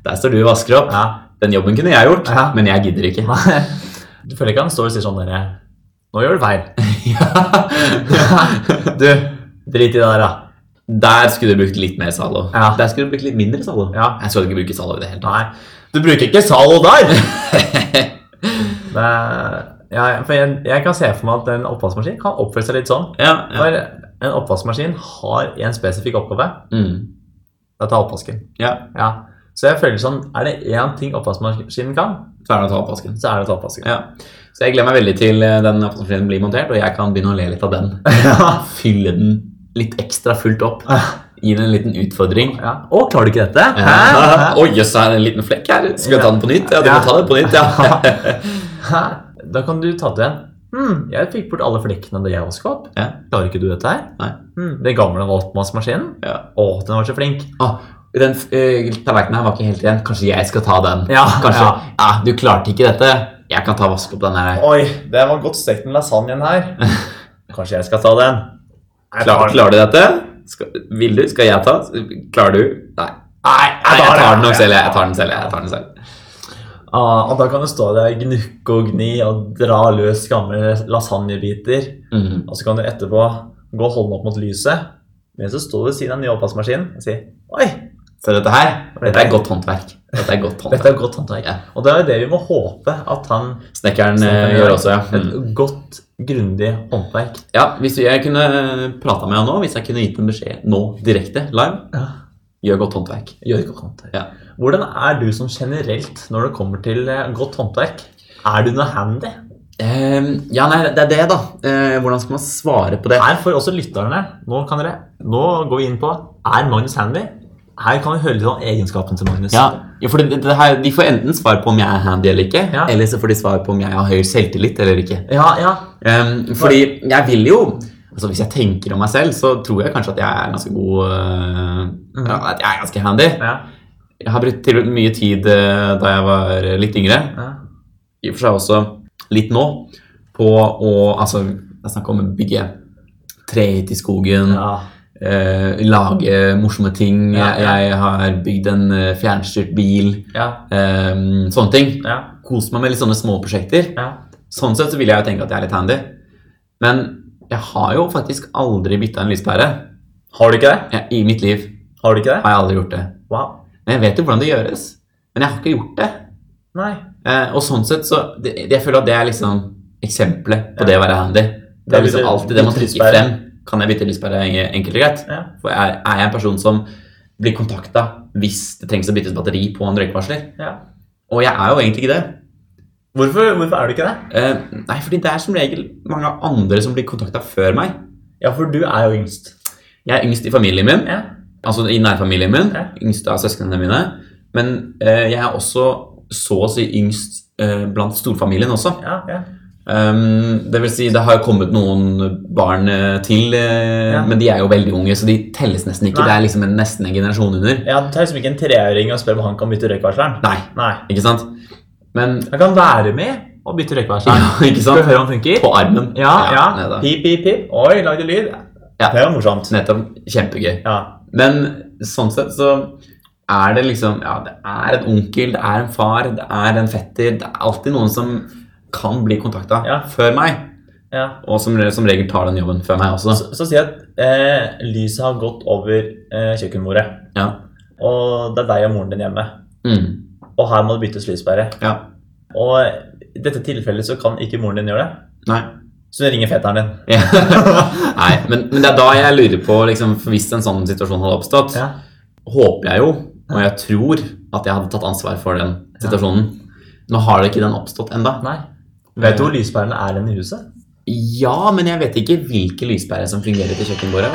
der står du og vasker opp.
Ja.
Den jobben kunne jeg gjort,
Ja.
men jeg gidder ikke.
[LAUGHS] Du føler ikke han står og sier sånn derre Nå gjør du feil.
[LAUGHS] Du,
Drit i det der, da.
der skulle du brukt litt mer Zalo.
Ja.
Der skulle du brukt litt mindre Zalo.
Ja.
Jeg skal ikke bruke Zalo i det hele tatt.
Nei. Du bruker ikke Zalo der! Det er, ja, for jeg, jeg kan se for meg at en oppvaskmaskin kan oppføre seg litt sånn.
[LAUGHS] Ja, ja.
For en oppvaskmaskin har en spesifikk oppgave.
Mm.
Det er å ta oppvasken.
ja.
Ja. Så jeg føler sånn Er det én ting oppvaskmaskinen kan,
Så er det å ta oppvasken.
så er det å ta oppvasken.
Ja. Så jeg gleder meg veldig til eh, den oppvaskmaskinen blir montert, og jeg kan begynne å le litt av den. [LAUGHS] Fylle den litt ekstra fullt opp. Gi den en liten utfordring.
Ja. Å, klarer du ikke dette?
Hæ?
Hæ?
[LAUGHS] Oi, jøss, er det en liten flekk her. Skal jeg ta den på nytt? Ja, du
Ja.
må ta den på nytt,
[LAUGHS]
[LAUGHS] ja.
Hæ? Da kan du ta det igjen. Hm, jeg fikk bort alle flekkene da jeg vasket opp.
Ja.
Klarer ikke du dette her? Hmm,
Nei.
Hm, det gamle oppvaskmaskinen?
ja.
Å, den var så flink.
Ah, Den eh, tallerkenen her var ikke helt ren. Kanskje jeg skal ta den.
[LAUGHS] Ja,
Kanskje,
ja.
ja. Du klarte ikke dette. Jeg kan ta og vaske opp den her.
Oi, det var godt stekt med lasagnen [LAUGHS] her. Kanskje jeg skal ta den? Nei,
Klar,
jeg tar den.
klarer du dette? Skal, vil du? Skal jeg ta? Klarer du? Nei.
Nei,
Nei, jeg tar den nok
jeg.
selv. jeg. Jeg tar den selv. jeg tar den selv.
Ah, og da kan du stå der og gnukke og gni og dra løs gamle lasagnebiter.
Mhm.
Og så kan du etterpå gå hånden opp mot lyset, mens du står ved siden av den nye oppvaskmaskinen og sier Oi,
Så dette her, dette er godt håndverk. Dette er godt håndverk.
dette er godt håndverk.
Ja.
Og det er jo det vi må håpe at han
Snekkeren
Snekkeren
eh,
gjør.
gjør også, ja.
Et
Mm.
godt, grundig håndverk.
ja hvis jeg kunne prata med han nå, hvis jeg kunne gitt en beskjed nå direkte, live, gjør godt håndverk.
Gjør godt håndverk.
Ja.
Hvordan er du sånn generelt når det kommer til eh, godt håndverk? Er du noe handy?
Ehm, ja, nei, det er det, da. Eh, hvordan skal man svare på det?
Her får også lytterne Nå kan dere, nå går vi inn på Er Magnus handy? Her kan vi høre litt om egenskapen til Magnus.
Ja, ja for det, det her, De får enten svar på om jeg er handy eller ikke,
Ja.
eller så får de svar på om jeg har høy selvtillit eller ikke.
ja, ja.
Ehm, fordi jeg vil jo altså Hvis jeg tenker om meg selv, så tror jeg kanskje at jeg er ganske god øh,
Mhm.
ja, At jeg er ganske handy.
ja.
Jeg har brukt til og med mye tid øh, da jeg var litt yngre,
ja.
i og for seg også litt nå, på å Altså, jeg snakker om å bygge trehytte i skogen.
ja.
eh, lage morsomme ting.
Ja, ja.
Jeg, jeg har bygd en eh, fjernstyrt bil.
ja.
eh, sånne ting.
ja.
Kost meg med litt sånne små prosjekter.
ja.
Sånn sett så vil jeg jo tenke at jeg er litt handy. Men jeg har jo faktisk aldri bytta en lyspære.
Har du ikke det?
Jeg, I mitt liv
Har du ikke det?
har jeg aldri gjort det.
Wow.
Men jeg vet jo hvordan det gjøres. Men jeg har ikke gjort det.
Nei.
Eh, og sånn sett så det, Jeg føler at det er liksom eksempelet på
Ja.
det å være handy. Det
Da
er
vil
liksom
du
alltid det man
bytte
trykker
lyspære.
frem. Kan jeg bytte lyspære en- enkelt og greit?
Ja.
For er, er jeg en person som blir kontakta hvis det trengs å byttes batteri på en røykvarsler?
ja.
Og jeg er jo egentlig ikke det.
Hvorfor, hvorfor er du ikke det?
Eh, nei, fordi det er som regel mange andre som blir kontakta før meg.
Ja, for du er jo yngst.
Jeg er yngst i familien min,
Ja.
altså i nærfamilien min.
Ja.
Yngst av søsknene mine. Men eh, jeg er også så å si yngst eh, blant storfamilien også.
Ja, ja.
Um, det vil si, det har jo kommet noen barn eh, til, eh,
Ja.
men de er jo veldig unge, så de telles nesten ikke.
Nei.
Det er liksom en, nesten en generasjon under.
ja du tar liksom ikke en treåring og spør om han kan bytte røykvarsleren.
Nei,
Nei.
ikke sant? Men
Han kan være med og bytte røykvarsleren.
ja, [LAUGHS] ikke
Skal
sant?
vi høre om den funker?
På armen.
Ja, ja.
nei da.
Pip, pip, pip. Oi, lagde lyd.
Ja.
Det er jo morsomt.
Nettopp. Kjempegøy.
Ja.
Men sånn sett så er det liksom Ja, det er en onkel, det er en far, det er en fetter. Det er alltid noen som kan bli kontakta
Ja.
før meg.
ja.
Og som, re- som regel tar den jobben før meg også.
Så, så si at eh, lyset har gått over eh, kjøkkenbordet,
Ja.
og det er deg og moren din hjemme.
Mm.
Og her må det byttes lyspære.
ja.
Og i dette tilfellet så kan ikke moren din gjøre det.
Nei.
Så du ringer fetteren din.
Ja. [LAUGHS] Nei, men, men det er da jeg lurer på liksom, for Hvis en sånn situasjon hadde oppstått,
Ja.
håper jeg jo, og jeg tror, at jeg hadde tatt ansvar for den situasjonen. Nå har det ikke den oppstått enda
Nei. Vet du hvor lyspærene er inne i huset?
Ja, men jeg vet ikke hvilke lyspærer som fungerer til kjøkkenbordet.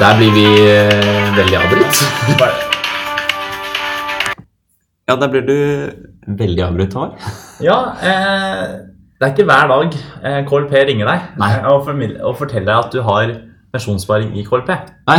Der blir vi eh, veldig avbrutt. [LAUGHS] Ja, der blir du veldig avbrutt, Håvard.
Ja, eh, det er ikke hver dag eh, KLP ringer deg
Nei.
eh, og, formid- og forteller deg at du har pensjonssparing i KLP.
Nei,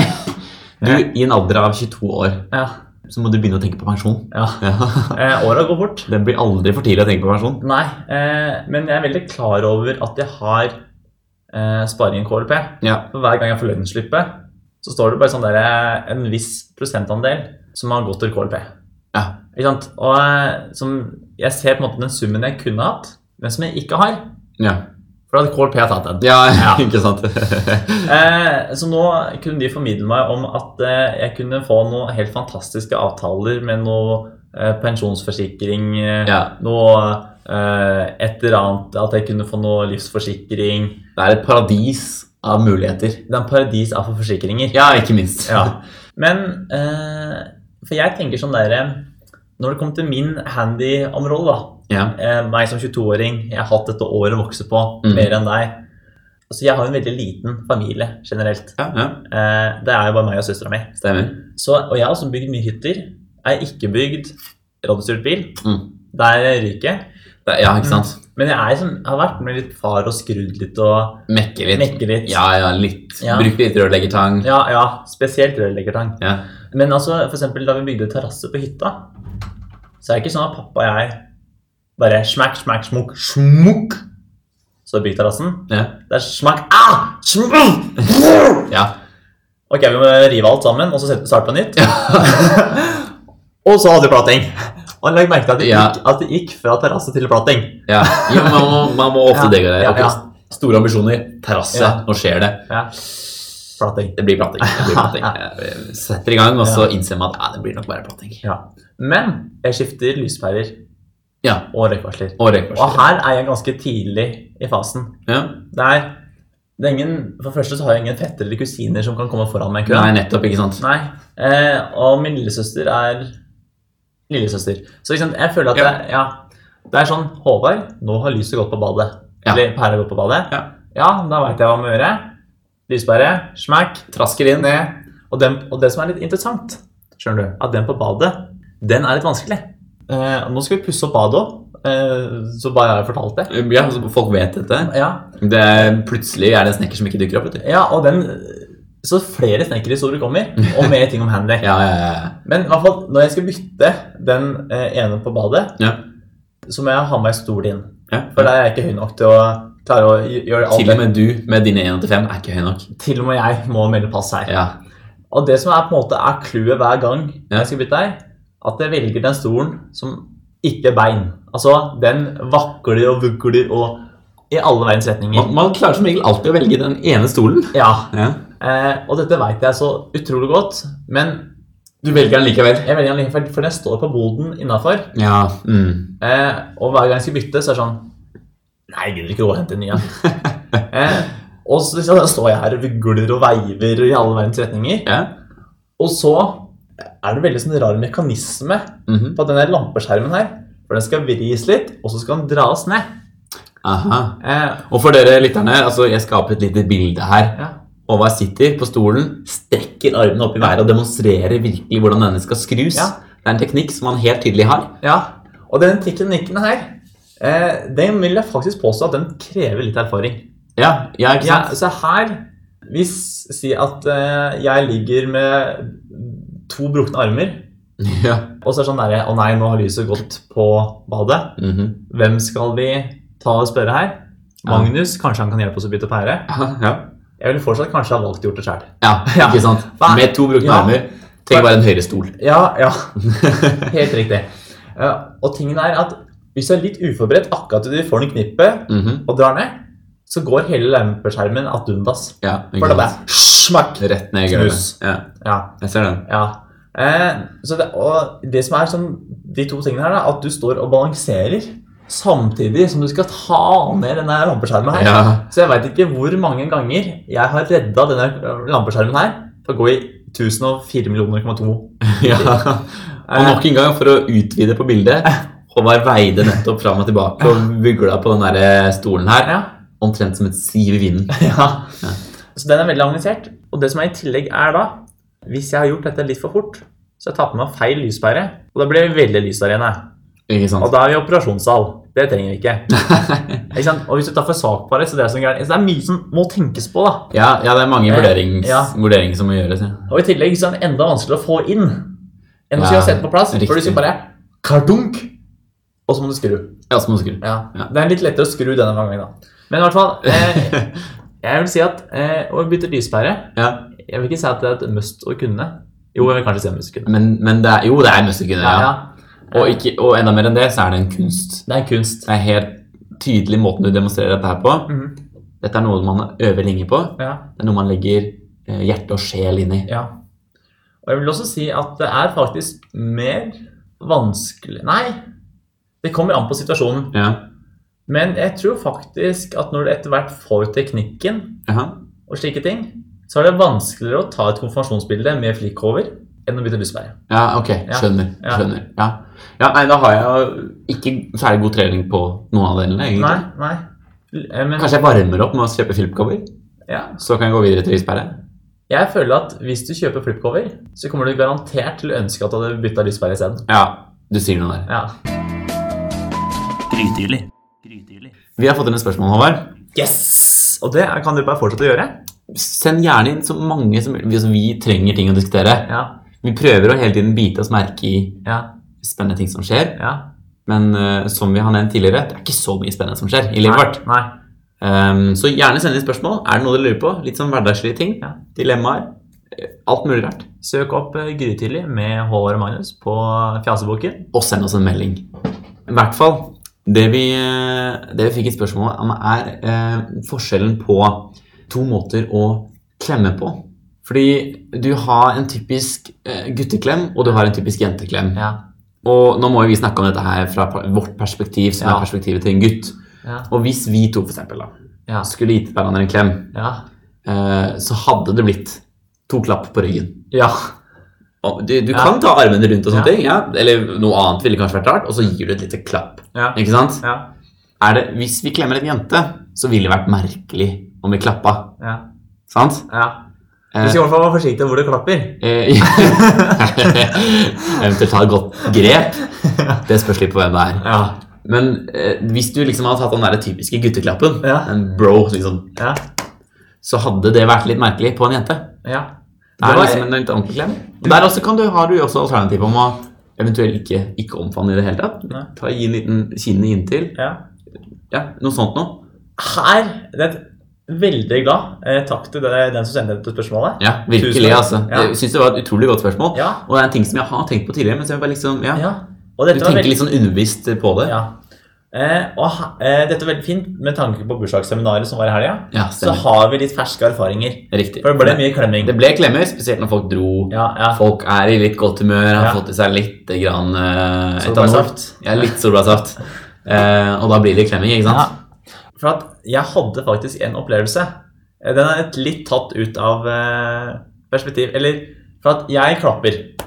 du, i en alder av 22 år
Ja.
så må du begynne å tenke på pensjon.
ja.
Ja. [LAUGHS]
Eh, Åra går fort.
Det blir aldri for tidlig å tenke på pensjon.
Nei, eh, men jeg er veldig klar over at jeg har eh, sparing i KLP.
Ja.
For hver gang jeg får lønnsslippet, så står det bare sånn der, eh, en viss prosentandel som har gått til KLP.
Ja.
Ikke sant? Og eh, som jeg ser på en måte den summen jeg kunne hatt, men som jeg ikke har.
Ja,
For da hadde KLP tatt den.
ja, [LAUGHS]
Ja.
ikke sant?
Eh, så nå kunne de formidle meg om at eh, jeg kunne få noen helt fantastiske avtaler med noe eh, pensjonsforsikring, eh,
ja.
noe eh, et eller annet, at jeg kunne få noe livsforsikring.
Det er et paradis av muligheter.
Det er en paradis av for forsikringer.
Ja, ikke minst.
Ja. Men eh, For jeg tenker sånn derre Når det kommer til min handy-område, da.
[LAUGHS] Ja.
Eh, meg som 22-åring, jeg har hatt dette året å vokse på
Mm.
mer enn deg. Altså, jeg har jo en veldig liten familie generelt.
Ja, ja.
Eh, det er jo bare meg og søstera mi.
Stemmer.
Så, og jeg har også bygd mye hytter. Jeg har ikke bygd radiostyrt bil.
Mm.
Der ryker jeg.
Det, ja, ikke sant?
Men jeg er som, har vært med litt far og skrudd litt og
Mekke litt.
mekke litt.
Ja, ja, litt.
Ja.
Bruk litt rørleggertang.
ja, ja spesielt rørleggertang.
Ja.
Men altså, for eksempel da vi bygde terrasse på hytta, så er det ikke sånn at pappa og jeg bare smakk, smakk, smukk, smukk, så bygde terrassen.
Ja.
Det er smakk, ah, smukk!
ja.
Ok, vi må rive alt sammen, og så sette- starte på nytt. [LAUGHS] og så hadde vi plating. Og legg merke til at det,
Ja.
gikk, at det gikk fra terrasse til plating.
ja. Jo, man, må, man må ofte
Ja,
det greier.
ja, ja.
Ok, Store ambisjoner. Terrasse.
Ja.
Nå skjer det.
Plating.
Det blir platting. Det blir [LAUGHS] platting. Jeg Setter i gang, og så innser man at "Nei, det blir nok bare platting.
Men jeg skifter lyspærer
Ja.
og røykvarsler.
Og
Og
røykvarsler.
her er jeg ganske tidlig i fasen.
Ja.
Det er, det er ingen, for det første så har jeg ingen fettere eller kusiner som kan komme foran meg i
Nei,
køen.
nettopp, ikke sant?
Nei. Eh, og min lillesøster er lillesøster. Så ikke sant, jeg føler at
Ja.
det, ja, det er sånn Håvard, nå har lyset gått på badet.
Ja.
Eller pæra gått på badet.
Ja.
da veit jeg hva jeg må gjøre. Lyspære, smakk, trasker inn. Ned. Og, den, og det som er litt interessant, skjønner du, at den på badet, den er litt vanskelig. Eh, nå skal vi pusse opp badet òg, eh, så bare jeg har fortalt det.
Ja, altså, folk vet dette.
Ja,
Det er, plutselig er det en snekker som ikke dukker opp. Vet du.
ja og den Så flere snekkerhistorier kommer, og mer ting om Handy.
Ja, ja, ja.
Men i hvert fall, når jeg skal bytte den eh, ene på badet,
Ja.
så må jeg ha meg stol inn.
ja.
For da er jeg ikke høy nok til å klare å gj- gjøre alt
Til og
det.
med du med dine 1,85 er ikke høy nok.
Til og med jeg må melde pass her.
Ja,
Og det som er på en måte er clouet hver gang
Ja.
jeg skal bytte her, at jeg velger den stolen som ikke er bein. Altså, den vakler og vugler og i alle veiens retninger.
man, man klarer som regel alltid å velge den ene stolen.
Ja,
Ja.
eh, og dette vet jeg så utrolig godt, men
Du velger den likevel.
jeg velger den likevel, for den står på boden innafor.
Ja. Mm.
Eh, og hver gang jeg skal bytte, så er det sånn Nei, jeg gidder ikke å gå og hente en ny en. eh, og så så står jeg her og vugler og veiver i alle verdens retninger.
ja.
Og så er det veldig sånn rar mekanisme
Mhm.
på den der lampeskjermen her. For den skal vris litt, og så skal den dras ned.
Aha.
Eh,
Og for dere lytterne, altså jeg skaper et lite bilde her.
ja.
Håvard sitter på stolen, strekker armene opp i været og demonstrerer virkelig hvordan denne skal skrus.
Ja.
Det er en teknikk som han helt tydelig har.
ja. Og den teknikken her, eh, den vil jeg faktisk påstå at den krever litt erfaring.
Ja, ja ikke
Ja,
sant?
så her Hvis si at eh, jeg ligger med to brukne armer
Ja.
Og så er det sånn derre Å nei, nå har lyset gått på badet.
Mhm.
Hvem skal vi ta og spørre her?
Ja.
Magnus, kanskje han kan hjelpe oss å bytte pære?
ja. ja.
Jeg ville fortsatt kanskje ha valgt gjort det sjøl.
ja ikke sant?
Hva-
Med to brukne
Ja.
armer. Tenk bare en høyere stol.
Ja,
[LAUGHS]
ja. Helt riktig. Ja, og tingen er at hvis du er litt uforberedt akkurat til du får den i knippet
Mhm.
og drar ned, så går hele lampeskjermen ad undas.
Ja, ikke
For
sant?
det bare smakk!
Rett ned i
Knus.
gulvet. Ja,
Ja,
jeg ser den.
ja. Eh, så det, og det som er sånn, de to tingene her, da, at du står og balanserer samtidig som du skal ta ned denne lampeskjermen her.
Ja.
Så jeg veit ikke hvor mange ganger jeg har redda denne lampeskjermen her for å gå i 1004 millioner,2.
ja. Og nok en gang, for å utvide på bildet Håvard veide nettopp fram og tilbake og vugla på den der eh, stolen her.
Ja.
Omtrent som et siv i vinden.
[LAUGHS] ja. Så den er veldig avansert. Og det som er i tillegg, er da Hvis jeg har gjort dette litt for fort, så har jeg tatt med meg feil lyspære, og da blir det veldig lyst der inne.
Ikke sant?
Og da er vi i operasjonssal. Det trenger vi ikke.
[LAUGHS]
ikke sant? Og hvis du tar for svak pare, så det er sånn gærent. Så det er mye som må tenkes på, da.
Ja, ja det er mange vurderings,
Ja.
vurderinger som må gjøres. Ja.
Og i tillegg så er den enda vanskeligere å få inn enn hvis
Ja,
du har sett på plass. For
riktig.
du skal bare kardunk, og så må du skru.
Ja, som husker.
Ja.
Ja.
Det er litt lettere å skru denne gangen, da. Men i hvert fall, eh,
[LAUGHS]
jeg vil si at eh, å bytte lyspære
Ja.
Jeg vil ikke si at det er et must å kunne. Jo, jeg vil kanskje si must å kunne.
Men, men det er, jo, det er musikkene,
Ja,
ja.
ja.
Og, ikke, og enda mer enn det, så er det en kunst.
Det er en kunst.
Det er helt tydelig måten du demonstrerer dette her på.
Mhm.
Dette er noe man øver lenge på.
Ja,
Det er noe man legger eh, hjerte og sjel inn i.
ja. Og jeg vil også si at det er faktisk mer vanskelig Nei, det kommer an på situasjonen.
Ja.
Men jeg tror faktisk at når du etter hvert får teknikken
Jaha.
og slike ting, så er det vanskeligere å ta et konfirmasjonsbilde med flikkhover enn å bytte lyspære.
Ja, ok.
Ja.
Skjønner.
Ja.
skjønner. Ja. ja, nei, da har jeg jo ikke særlig god trening på noen av delene, egentlig.
Nei, nei. L- eh, Men
Kanskje jeg varmer opp med å kjøpe flipcover,
ja.
så kan jeg gå videre til lyspære.
jeg føler at hvis du kjøper flipcover, så kommer du garantert til å ønske at du hadde bytta lyspære isteden.
Ja, du sier noe der.
Ja.
Grytidlig. Grytidlig.
Vi har fått inn et spørsmål, Håvard.
Yes! Og det er- kan dere bare fortsette å gjøre.
Send gjerne inn så mange som mulig. Altså, vi trenger ting å diskutere.
Ja,
Vi prøver å hele tiden bite oss merke i
ja,
spennende ting som skjer.
ja.
Men eh, som vi har nevnt tidligere, det er ikke så mye spennende som skjer i livet vårt.
Nei.
Ehm, så gjerne send inn spørsmål. Er det noe dere lurer på? Litt sånn hverdagslige ting.
Ja.
Dilemmaer. eh, Alt mulig rart.
Søk opp eh, Grytidlig med Håvard og Magnus på Fjaseboken.
Og send oss en melding. I hvert fall. Det vi, eh, det vi fikk et spørsmål om, er eh, forskjellen på to måter å klemme på. Fordi du har en typisk eh, gutteklem, og du har en typisk jenteklem.
Ja.
Og nå må jo vi snakke om dette her fra pa- vårt perspektiv, som
Ja.
er perspektivet til en gutt.
Ja.
Og hvis vi to for eksempel, da,
Ja.
skulle gitt hverandre en klem,
Ja.
eh, så hadde det blitt to klapp på ryggen.
ja.
Og Du, du
Ja.
kan ta armene rundt og sånne
Ja.
ting, ja. eller noe annet ville kanskje vært rart, og så gir du et lite klapp.
ja.
Ikke sant?
ja.
Er det, hvis vi klemmer en jente, så ville det vært merkelig om vi klappa.
ja.
Sant?
ja. Du
Eh,
skal i hvert fall være forsiktig hvor du klapper.
eh, [LAUGHS] Eventuelt ta et godt grep. Det spørs litt på hvem det er.
Ja.
Men eh, hvis du liksom hadde tatt den der typiske gutteklappen,
Ja.
en bro, liksom,
Ja.
så hadde det vært litt merkelig på en jente.
ja.
Det er
var-
liksom en litt ordentlig klem. Og der også kan du, har du jo også alternativ om å eventuelt ikke, ikke omfavne i det hele tatt.
Nei.
Ta gi en liten kinnet inntil.
ja.
Ja, noe sånt noe.
Her det er et veldig glad eh, takk til det- den som sendte dette spørsmålet.
Ja, virkelig,
Tusen takk.
altså.
Ja.
Jeg syns det var et utrolig godt spørsmål.
Ja.
Og det er en ting som jeg har tenkt på tidligere, men så er jeg bare liksom Ja.
ja. Og
Du
dette var
tenker
veldig-
litt sånn underbevisst på det.
Ja. Eh, og ha, eh, dette er veldig fint med tanke på bursdagsseminaret som var i helga.
Ja,
Så
stemmer.
har vi litt ferske erfaringer.
Riktig.
For det ble mye klemming.
Det ble klemmer, spesielt når folk dro.
Ja, ja.
Folk er i litt godt humør, har
Ja.
fått i seg litt grann eh, etanol.
Solbærsaft.
Ja, litt solbærsaft. Eh, og da blir det klemming, ikke sant?
For at jeg hadde faktisk en opplevelse. Eh, Den er et litt tatt ut av eh, perspektiv. Eller for at jeg klapper. Ikke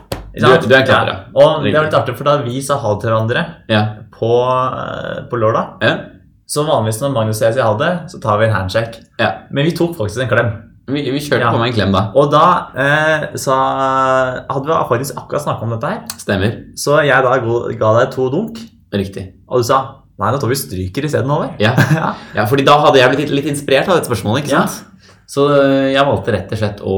sant?
Du- du er en klapper, ja.
Og det
Riktig.
var litt artig, for da vi sa ha det til hverandre
Ja.
på, eh, på lørdag
ja.
Så vanligvis når Magnus og jeg sier ha det, så tar vi en handshake.
Ja.
Men vi tok faktisk en klem.
Vi, vi kjørte
Ja.
på med en klem da.
Og da eh, sa, hadde vi faktisk akkurat snakka om dette her.
Stemmer.
Så jeg da go- ga deg to dunk,
Riktig.
og du sa Nei, nå tar vi stryker isteden, Håvard.
Ja.
[LAUGHS] Ja.
ja, fordi da hadde jeg blitt litt inspirert av dette spørsmålet, ikke sant? Så øh, jeg valgte rett og slett å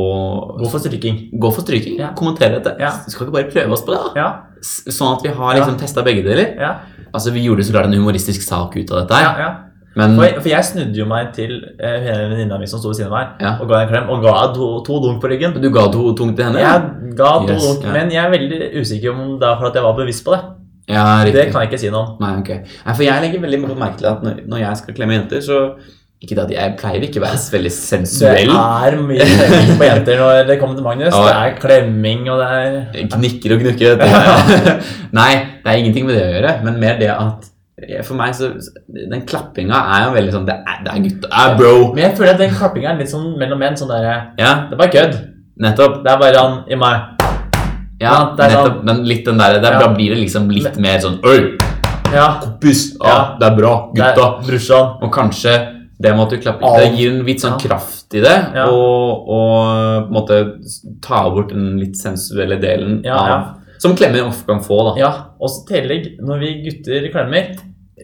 Gå for stryking.
gå for stryking.
Ja.
Kommentere dette.
Ja.
Skal ikke bare prøve oss på det, da?
Ja,
S- Sånn at vi har liksom testa begge deler.
ja,
Altså, Vi gjorde så klart en humoristisk sak ut av dette,
ja,
her,
ja.
men
For, for jeg snudde jo meg til eh, hele venninna mi som sto ved siden av meg,
Ja.
og ga henne en klem. Og ga henne to, to dunk på ryggen.
du ga to tungt til henne?
Jeg ga to
Yes,
dunk,
ja.
men jeg er veldig usikker om det er for at jeg var bevisst på det.
ja
Det
riktig.
kan jeg ikke si noe om.
Nei, ok. Nei, for jeg legger veldig godt merke til at når, når jeg skal klemme jenter, så Ikke det at jeg pleier ikke å være veldig
Det
sensuell.
er mye klemming på jenter når det kommer til Magnus.
Ja.
Det er klemming, og det er
Gnikker og gnukker. vet du. [LAUGHS] Nei, det er ingenting med det å gjøre, men mer det at eh, For meg så Den klappinga er jo veldig sånn Det er, det er gutta. Det er bro.
Men jeg føler at den klappinga er litt sånn mellom menn. Sånn der,
Ja,
det er bare kødd.
nettopp.
Det er bare han i meg.
Ja,
Ja, det er
nettopp. Den, litt den der, der
Ja.
Da blir det liksom litt mer sånn Øy,
Ja,
puss! Ja,
Ja.
det er bra,
det er
gutta.
brorsan.
Og kanskje det med at du klapper
Av-
Det gir en litt sånn
Ja.
kraft i det,
Ja.
og, og på en måte ta bort den litt sensuelle delen
Ja, ja.
av Som klemmer ofte kan få, da.
Ja, og så tillegg, når vi gutter klemmer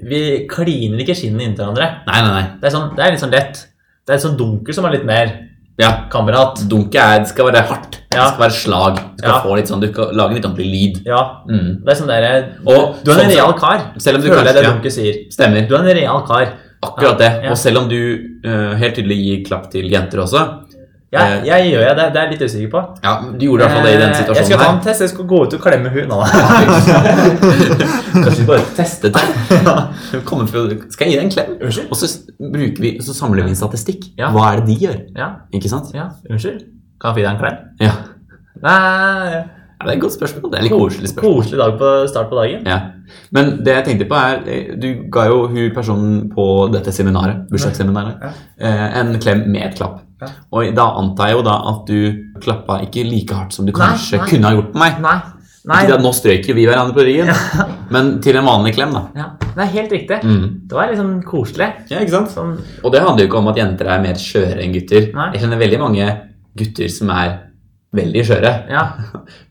Vi kliner ikke skinnene inntil hverandre.
Nei, nei, nei.
Det er, sånn, det er litt sånn lett. Det er et sånn dunker som er litt mer
Ja.
kamerat.
Dunket er, det skal være hardt.
Ja.
Det skal være slag. Du skal
Ja.
få litt sånn, du skal lage en litt ordentlig lyd.
Ja,
Mm.
det er sånn der
Og
Du er en
sånn-
real kar.
Selv om du
Føler jeg det
kanskje-
dunket sier.
Stemmer.
Du er en real kar.
Akkurat det.
Ja.
Og selv om du eh, helt tydelig gir klapp til jenter også
Jeg, jeg gjør jeg det. Det er jeg litt usikker på.
Ja, du gjorde Eh. i hvert fall det i den
Eh,
situasjonen
Jeg skal ta en test. Jeg skal gå ut og klemme hun nå.
[LAUGHS] Kanskje vi bare teste det? Kommer for, skal jeg gi deg en klem?
Unnskyld?
Og så, s- bruker vi, så samler vi en statistikk.
Ja.
Hva er det de gjør?
Ja,
Ikke sant?
ja, unnskyld. Kan jeg få gi deg en klem?
Ja.
Nei,
ja det er et godt spørsmål. Det er litt koselig spørsmål.
Koselig dag på start på dagen.
Ja. Men det jeg tenkte på er eh, Du ga jo hun personen på dette seminaret, bursdagsseminaret,
Ja.
eh, en klem med et klapp.
Ja.
Og da antar jeg jo da at du klappa ikke like hardt som du
Nei,
kanskje
nei.
kunne ha gjort på meg.
Nei. Nei.
Ikke det at nå strøyker vi hverandre på ryggen, men til en vanlig klem, da.
Ja, det er helt riktig.
Mm.
Det var liksom koselig.
Ja, ikke sant?
Sånn,
Og det handler jo ikke om at jenter er mer skjøre enn gutter.
Nei.
Jeg kjenner veldig mange gutter som er veldig skjøre,
ja.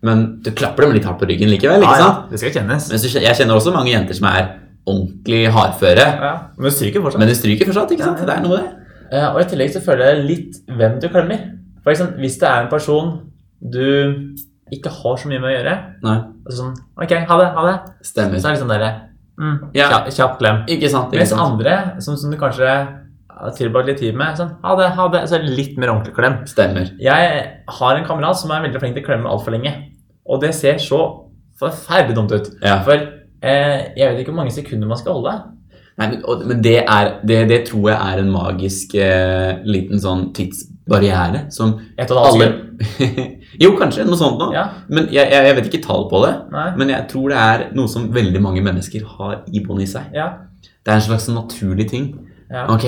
men du klapper dem litt hardt på ryggen likevel. ikke sant?
Det skal kjennes.
Men så kjen- jeg kjenner også mange jenter som er ordentlig hardføre.
Ja, men du stryker fortsatt.
Men det stryker fortsatt, ikke sant?
Ja, ja.
Det er noe, det.
Eh, og i tillegg så føler jeg litt hvem du klemmer. For eksempel, hvis det er en person du ikke har så mye med å gjøre,
Nei,
og sånn OK, ha det, ha det. Så
stemmer.
er det sånn derre mm,
Ja.
kjapp, kjapp klem.
Ikke sant? Ikke
Mens
sant?
andre, som, som du kanskje har tilbrakt litt tid med, sånn ha det, ha det, så er det litt mer ordentlig klem.
Stemmer.
Jeg har en kamerat som er veldig flink til å klemme altfor lenge. Og det ser så forferdelig dumt ut.
Ja.
For eh, jeg vet ikke hvor mange sekunder man skal holde.
Nei, men, og, men det, er, det, det tror jeg er en magisk eh, liten sånn tidsbarriere som
Et og et halvt
alle [LAUGHS]
sekund.
Jo, kanskje noe sånt nå.
Ja,
Men jeg, jeg, jeg vet ikke tall på det.
nei,
Men jeg tror det er noe som veldig mange mennesker har i bånn i seg.
ja,
Det er en slags naturlig ting.
ja.
Ok,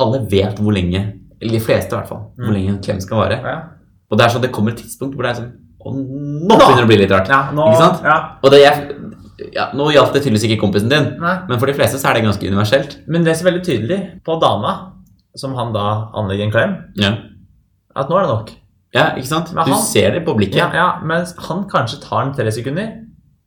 alle vet hvor lenge, eller de fleste i hvert fall, hvor
Mm.
lenge en klem skal vare.
ja.
Og det er sånn, det kommer et tidspunkt hvor det er sånn Å, nå begynner det å bli litt rart.
ja nå,
Ikke sant?
Ja,
Og det jeg, ja, nå gjaldt det tydeligvis ikke kompisen din,
nei.
men for de fleste så er det ganske universelt.
Men det ser veldig tydelig på dama, som han da anlegger en klem,
Ja,
at nå er det nok.
ja ikke sant?
Men
Du
han-
ser det på blikket.
Ja, ja, Mens han kanskje tar den tre sekunder.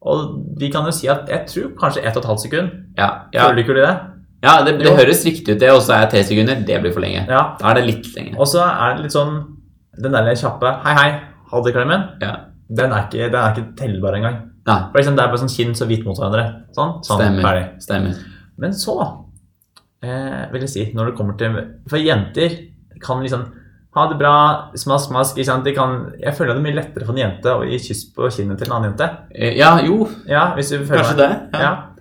Og vi kan jo si at jeg tror kanskje ett og et halvt sekund.
Ja, ja.
Føler du ikke det?
ja det, det
Jo.
høres riktig ut, det, og så er tre sekunder. Det blir for lenge.
Ja.
Da er det litt lenge.
Og så er det litt sånn Den der kjappe Hei, hei, ha det-klemmen.
Ja.
Den er ikke, den er ikke tellbar engang.
Nei,
For eksempel, det er bare sånn kinn så vidt mot hverandre. Sånn, sånn,
stemmer.
ferdig.
Stemmer.
Men så eh, vil jeg si, når det kommer til For jenter kan liksom ha det bra, smask, smask. Ikke sant? De kan, jeg føler det er mye lettere for en jente å gi kyss på kinnet til en annen jente.
Eh, Ja, jo,
Ja, hvis du føler
kanskje det.
Ja.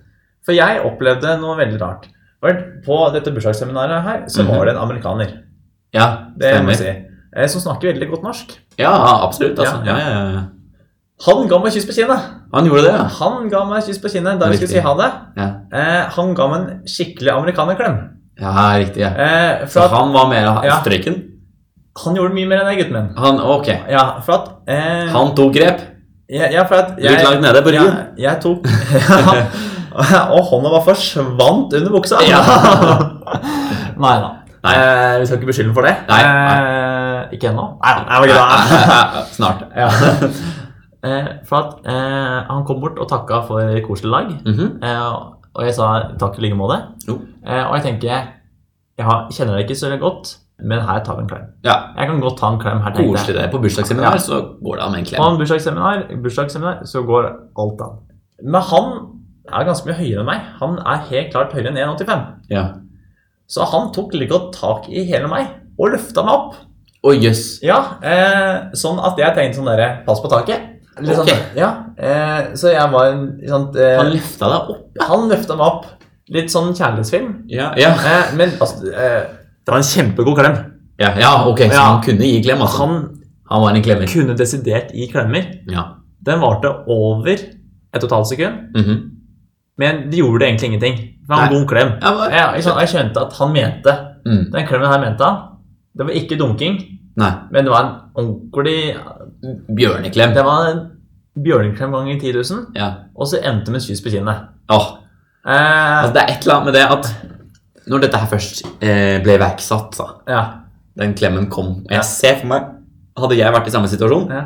For jeg opplevde noe veldig rart. For på dette bursdagsseminaret her, så var det en amerikaner.
Ja,
Det må jeg
Mhm. stemmer.
si. eh, Som snakker veldig godt norsk.
Ja, absolutt. Altså. Ja,
Ja.
ja, ja.
Han ga meg kyss på kinnet!
Han gjorde det, ja.
Han ga meg kyss på kinnet da vi skulle
Riktig.
si ha det.
Ja,
Eh, han ga meg en skikkelig amerikanerklem.
ja riktig. ja.
Eh,
Så
for at
han var mer av
Ja.
strøyken?
han gjorde mye mer enn jeg, gutten min.
Han, ok.
Ja, for at eh,
Han tok grep.
ja, ja, for at
Litt langt nede på
ja,
ryggen.
jeg tok ja, [LAUGHS] Og hånda bare forsvant under buksa.
Ja.
[LAUGHS] nei da.
Nei.
Eh, vi skal ikke beskylde ham for det.
Nei,
Eh, ikke ennå. Nei da. Jeg var glad.
[LAUGHS] Snart.
[LAUGHS] Ja. Eh, for at eh, han kom bort og takka for koselig lag.
Mhm.
Eh, og jeg sa takk i like måte.
Jo.
Eh, og jeg tenker jeg har, kjenner deg ikke så godt, men her tar vi en klem.
Ja,
Jeg kan godt ta en klem her, tenkte
Koselig det. På bursdagsseminar så går det an med en
På
klem.
en bursdagsseminar, bursdagsseminar så går alt an. Men han er ganske mye høyere enn meg. Han er helt klart høyere enn 1,85.
Ja.
Så han tok like godt tak i hele meg og løfta meg opp.
Å, jøss.
Ja, eh, Sånn at jeg tenkte sånn derre Pass på taket. Litt sånn,
Ok.
ja, eh, Så jeg var en sånn, eh,
Han løfta deg opp.
Han løfta meg opp. Litt sånn kjærlighetsfilm.
Ja, ja.
Eh, men altså eh, Det var en kjempegod klem.
ja, ja ok, så
Ja.
han kunne gi klem, altså.
Han
Han var en klemmer.
kunne desidert gi klemmer.
Ja.
Den varte over et og et halvt sekund,
Mhm.
men det gjorde egentlig ingenting. Det var en
Nei.
god klem.
Ja, bare-
Ja, ikke sant? jeg skjønte at han mente
mm.
Den klemmen her mente han. Det var ikke dunking,
Nei.
men det var en ordentlig
Bjørneklem.
Det var en bjørneklem ganger 10 000,
Ja.
og så endte det med et kyss på kinnet.
Åh,
Eh,
altså, det er et eller annet med det at når dette her først eh, ble iverksatt, da
ja,
den klemmen kom. Og jeg ser for meg Hadde jeg vært i samme situasjon,
ja,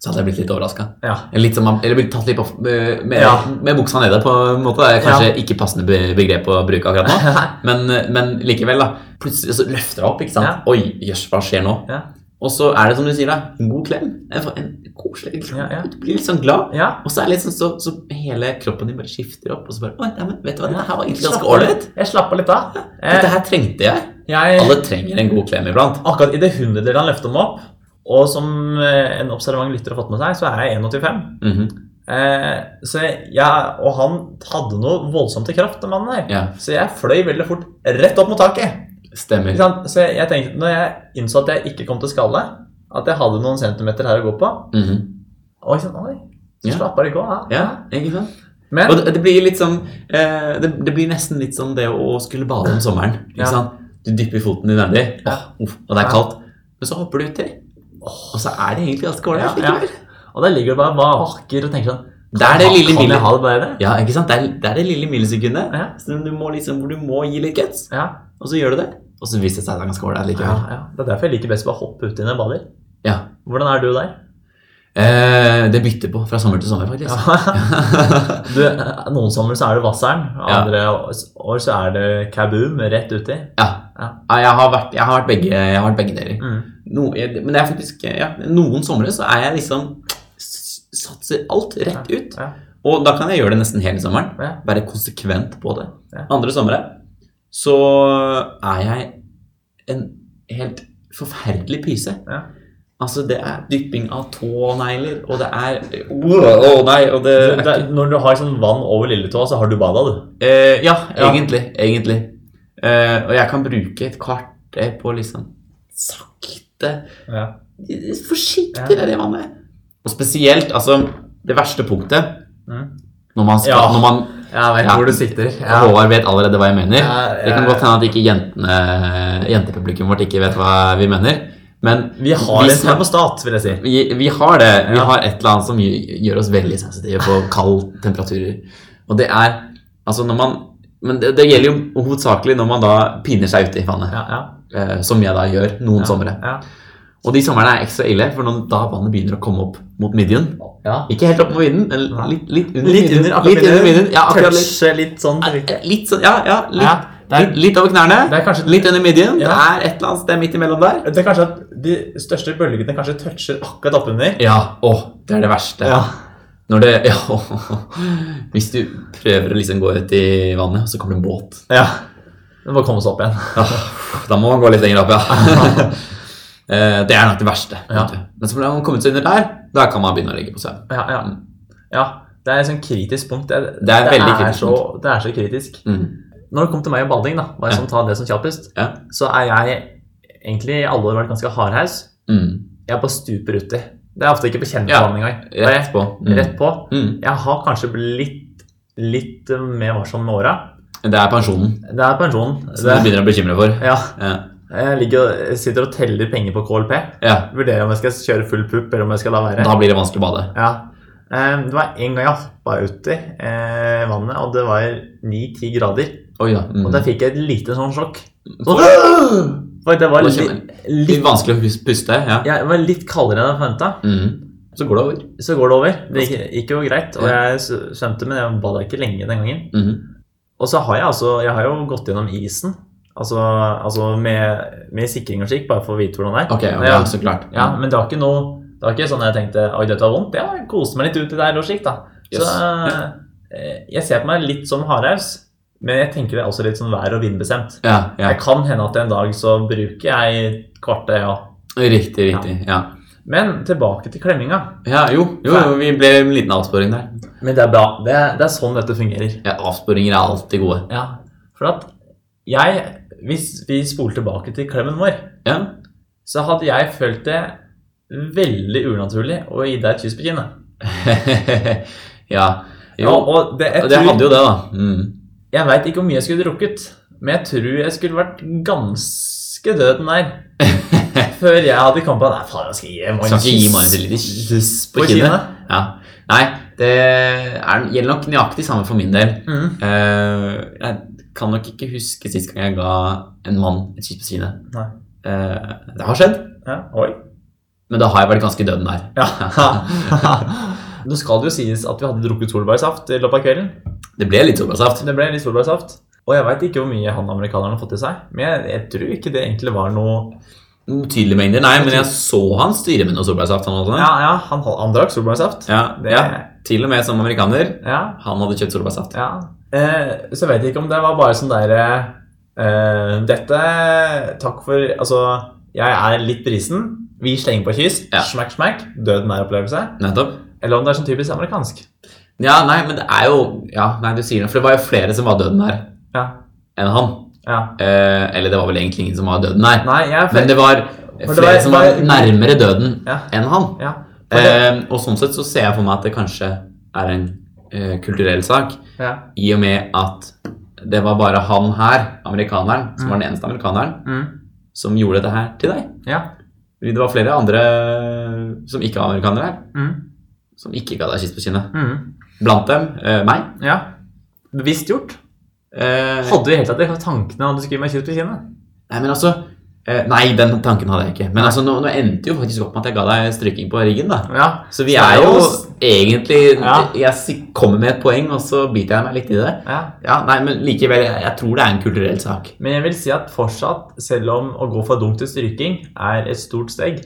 så hadde jeg blitt litt overraska.
ja.
Eller, eller blitt tatt litt på, med, med-
Ja.
med buksa nede, på en måte. Det er kanskje ikke passende be- begrep å bruke akkurat
[LAUGHS]
nå, men, men likevel, da. Plutselig så løfter jeg opp, ikke sant.
Ja.
Oi, jøss, hva skjer nå?
Ja.
Og så er det som du sier, da. En god klem. En, en koselig klem.
Ja, ja.
Du blir litt sånn glad.
ja.
Og så er det litt sånn så, så hele kroppen din bare skifter opp, og så bare Oi, nei, men vet du hva, dette her var egentlig ganske ålreit.
Jeg slappa litt av.
Dette her trengte jeg.
jeg,
Alle trenger en god klem iblant.
Akkurat i det hundredelen han løfter meg opp, og som eh, en observant lytter har fått med seg, så er jeg 1,85.
Mhm.
Eh, så jeg, jeg- og han hadde noe voldsomt i kraft, den mannen her.
Ja,
Så jeg fløy veldig fort rett opp mot taket.
stemmer.
Ikke sant? Så jeg, jeg tenkte, når jeg innså at jeg ikke kom til skalle, at jeg hadde noen centimeter her å gå på
Mhm.
Og jeg sånn, oi, så
Ja.
slapper det ikke av.
Ja, ikke sant?
Men
Og det, det blir litt sånn eh, det, det blir nesten litt sånn det å skulle bade om sommeren. Ikke
Ja.
sant? Du dypper foten din nedi, åh, uff, og det er
Ja.
kaldt. Men så hopper du uti, og så er det egentlig ganske ålreit
Ja, ja.
likevel.
Og der ligger du bare vaker og tenker sånn
Det er det
kan-
lille
Kan jeg
millet.
ha det bare det?
Ja, ikke sant? Det er, det er det lille millisekundet
Ja.
som du må liksom, hvor du må gi litt guts,
Ja.
og så gjør du det. Og så viser det seg at det er ganske ålreit
ja,
likevel.
ja. Det er derfor jeg liker best å bare hoppe uti når jeg bader.
Ja.
Hvordan er du der?
Eh, det bytter på fra sommer til sommer, faktisk.
[LAUGHS] Du, noen sommer så er det Vasseren, andre år så er det Kaboom rett uti.
[LAUGHS] Ja.
Ja.
Ja, Jeg, har vært, jeg har vært begge, jeg har vært begge deler.
Mm.
No, jeg, men det er faktisk eh, ja, Noen somre så er jeg liksom s- Satser alt rett ut.
Ja.
Og da kan jeg gjøre det nesten hele sommeren.
Ja.
Være konsekvent på det.
Ja.
Andre somre så er jeg en helt forferdelig pyse.
Ja.
Altså, det er dypping av tånegler, og det er Åh, nei, og det,
Du, det, er- når du har sånn vann over lilletåa, så har du bada, du.
Eh, ja,
Ja.
egentlig. egentlig. Eh, og jeg kan bruke et kvarter på liksom sakte
Ja.
Forsiktig
Ja.
er det vannet. Og spesielt, altså Det verste punktet
Mm.
når man, skal,
Ja.
når man
Jeg vet
Ja.
hvor du sitter. Ja.
Håvard vet allerede hva jeg mener.
Ja, eh, ja.
Det kan godt hende at ikke jentene, jentepublikummet vårt ikke vet hva vi mener. Men
Vi har
hvis
det her
man-
på stat, vil jeg si.
vi, vi har det. Vi
Ja.
har et eller annet som gjør gjør oss veldig sensitive på kald temperaturer. Og det er Altså, når man Men det, det gjelder jo hovedsakelig når man da piner seg ute i vannet.
Ja, ja,
Eh, som jeg da gjør noen
ja,
somre.
Ja.
Og de somrene er ekstra ille, for når, da vannet begynner å komme opp mot midjen.
Ja.
Ikke helt opp mot midjen, men
Nei.
litt, litt under
Litt
midjen.
under
litt under midjen. Ja, akkurat litt.
Touche litt sånn.
Eh, Litt sånn, ja, ja. Litt,
Ja, det er-
litt, litt over knærne.
Det er kanskje-
Litt under midjen. Det
Ja.
er et eller annet sted midt imellom der.
Det er kanskje at De største bølgene kanskje toucher akkurat oppunder.
Ja, åh, det er det verste. Når det Ja, hvis du prøver å liksom gå ut i vannet, og så kommer det en båt.
ja. Det må komme seg opp igjen.
Da må man gå litt lenger opp, [LAUGHS] ja. Eh, det er nok det verste. vet
Ja.
du. Men så når man har kommet seg under der, da kan man begynne å legge på seg.
Ja, ja. ja. Det er et sånn kritisk punkt. Det,
Mm. Det er veldig kritisk
så, Det er så kritisk.
Mm.
Når det kom til meg og bading, da, hva
Ja.
som tar det som kjappest,
Ja.
så er jeg egentlig i alle år vært ganske hardhaus.
Mm.
Jeg bare stuper uti. Det er ofte ikke
Ja.
på kjentvann engang. Da er
Rett
jeg
på. Mm.
Rett på.
Mm.
Jeg har kanskje blitt litt, litt mer varsom med åra.
Det er pensjonen
Det er pensjonen.
som du
Det,
begynner å bekymre for.
ja.
Ja.
Jeg ligger, og- sitter og teller penger på KLP.
ja.
Vurderer om jeg skal kjøre full pupp, eller om jeg skal la være.
Da blir det vanskelig å bade.
Ja. Eh, Det var en gang jeg hoppa uti eh, vannet, og det var 9-10 grader.
Oi, ja. Mm.
Og der fikk jeg et lite sånn sjokk.
Åh!
For det var
Da
li,
Litt
litt,
vanskelig å hus- puste. Ja.
ja, det var litt kaldere enn jeg forventa.
Mm. Så går det over.
Så går det over. Det gikk, gikk jo greit. Og
Ja.
jeg s- svømte, men jeg bada ikke lenge den gangen.
Mm.
Og så har jeg altså Jeg har jo gått gjennom isen. Altså, altså med, med sikring og slik, bare for å vite hvordan det er.
Ok,
Men
ja,
jeg-
så klart.
Ja, men det var ikke noe Det var ikke sånn jeg tenkte Oi, dette var vondt. Jeg koste meg litt uti der og slikt, da.
Yes.
Så eh, jeg ser på meg litt som hardhaus, men jeg tenker det er også litt sånn vær- og vindbestemt.
Ja, ja.
Jeg kan hende at en dag så bruker jeg et kvarter, ja.
Riktig, riktig. Ja.
Men tilbake til klemminga.
Ja, jo, jo, jo, vi ble en liten avsporing der.
Men det er bra. Det er, det er sånn dette fungerer.
Ja, avsporinger er alltid gode.
Ja. For at jeg Hvis vi spoler tilbake til klemmen vår,
Ja, [LAUGHS]
så hadde jeg følt det veldig unaturlig å gi deg et kyss på kinnet.
ja. Jo,
Og, og det, jeg
og det
tror-
hadde jo det, da. Mm.
Jeg veit ikke hvor mye jeg skulle drukket, men jeg tror jeg skulle vært ganske døden
[LAUGHS]
der. Før jeg hadde kommet på Nei, faen, jeg skal gi Magnus
Skal ikke gi
kyss-
Magnus et lite
kyss
På kinnet. Ja. Nei, det er, gjelder nok nøyaktig samme for min del.
Mm.
Eh, jeg kan nok ikke huske sist gang jeg ga en mann et kyss på kinnet.
Nei.
Eh, det har skjedd,
Ja, oi.
men da har jeg vært ganske døden der. [LAUGHS]
Ja. [LAUGHS] Nå skal det jo sies at vi hadde drukket solbærsaft i løpet av kvelden.
Det ble litt solbærsaft.
Så det ble litt solbærsaft. Og jeg veit ikke hvor mye han amerikaneren har fått i seg, men jeg, jeg tror ikke det egentlig var noe
Mm, Tydelige mengder, nei, men jeg så han styre med noe solbærsaft. Han, også.
Ja, ja, han, han drakk solbærsaft.
Ja,
Det-
ja, til og med som amerikaner.
ja.
Han hadde kjøpt solbærsaft.
Ja. Eh, så jeg vet ikke om det var bare sånn derre eh, Dette Takk for Altså, jeg er litt brisen. Vi slenger på kyss.
Ja.
Smack, smack. Døden er opplevelse.
Nettopp.
Eller om det er sånn typisk amerikansk.
Ja, nei, men det er jo Ja, nei, du sier det, for det var jo flere som var døden her
Ja.
enn han.
ja.
Eh, eller det var vel egentlig ingen som var døden her.
Nei, jeg er
Men
fe-
det var
var-
flere som var
det var-
nærmere døden
Ja.
enn han.
ja. For det-
Eh, og sånn sett så ser jeg for meg at det kanskje er en eh, kulturell sak,
ja.
i og med at det var bare han her, amerikaneren, som var den eneste amerikaneren,
Mm.
som gjorde dette her til deg.
ja.
Fordi Det var flere andre som ikke var amerikanere her,
Mm.
som ikke ga deg kyss på kinnet.
Mm.
Blant dem eh, meg.
ja. Bevisst gjort.
Eh,
Hadde du i det hele tatt det i tankene om du skulle gi meg kyss på kinnet?
Nei, men altså Eh, nei, den tanken hadde jeg ikke. Men altså, nå, nå endte jo faktisk opp med at jeg ga deg stryking på ryggen. da.
Ja.
Så vi er jo
s-
egentlig
Ja.
Jeg si- kommer med et poeng, og så biter jeg meg litt i det.
ja.
Ja, nei, Men likevel, jeg, jeg tror det er en kulturell sak.
Men jeg vil si at fortsatt, selv om å gå fra dunk til stryking er et stort steg,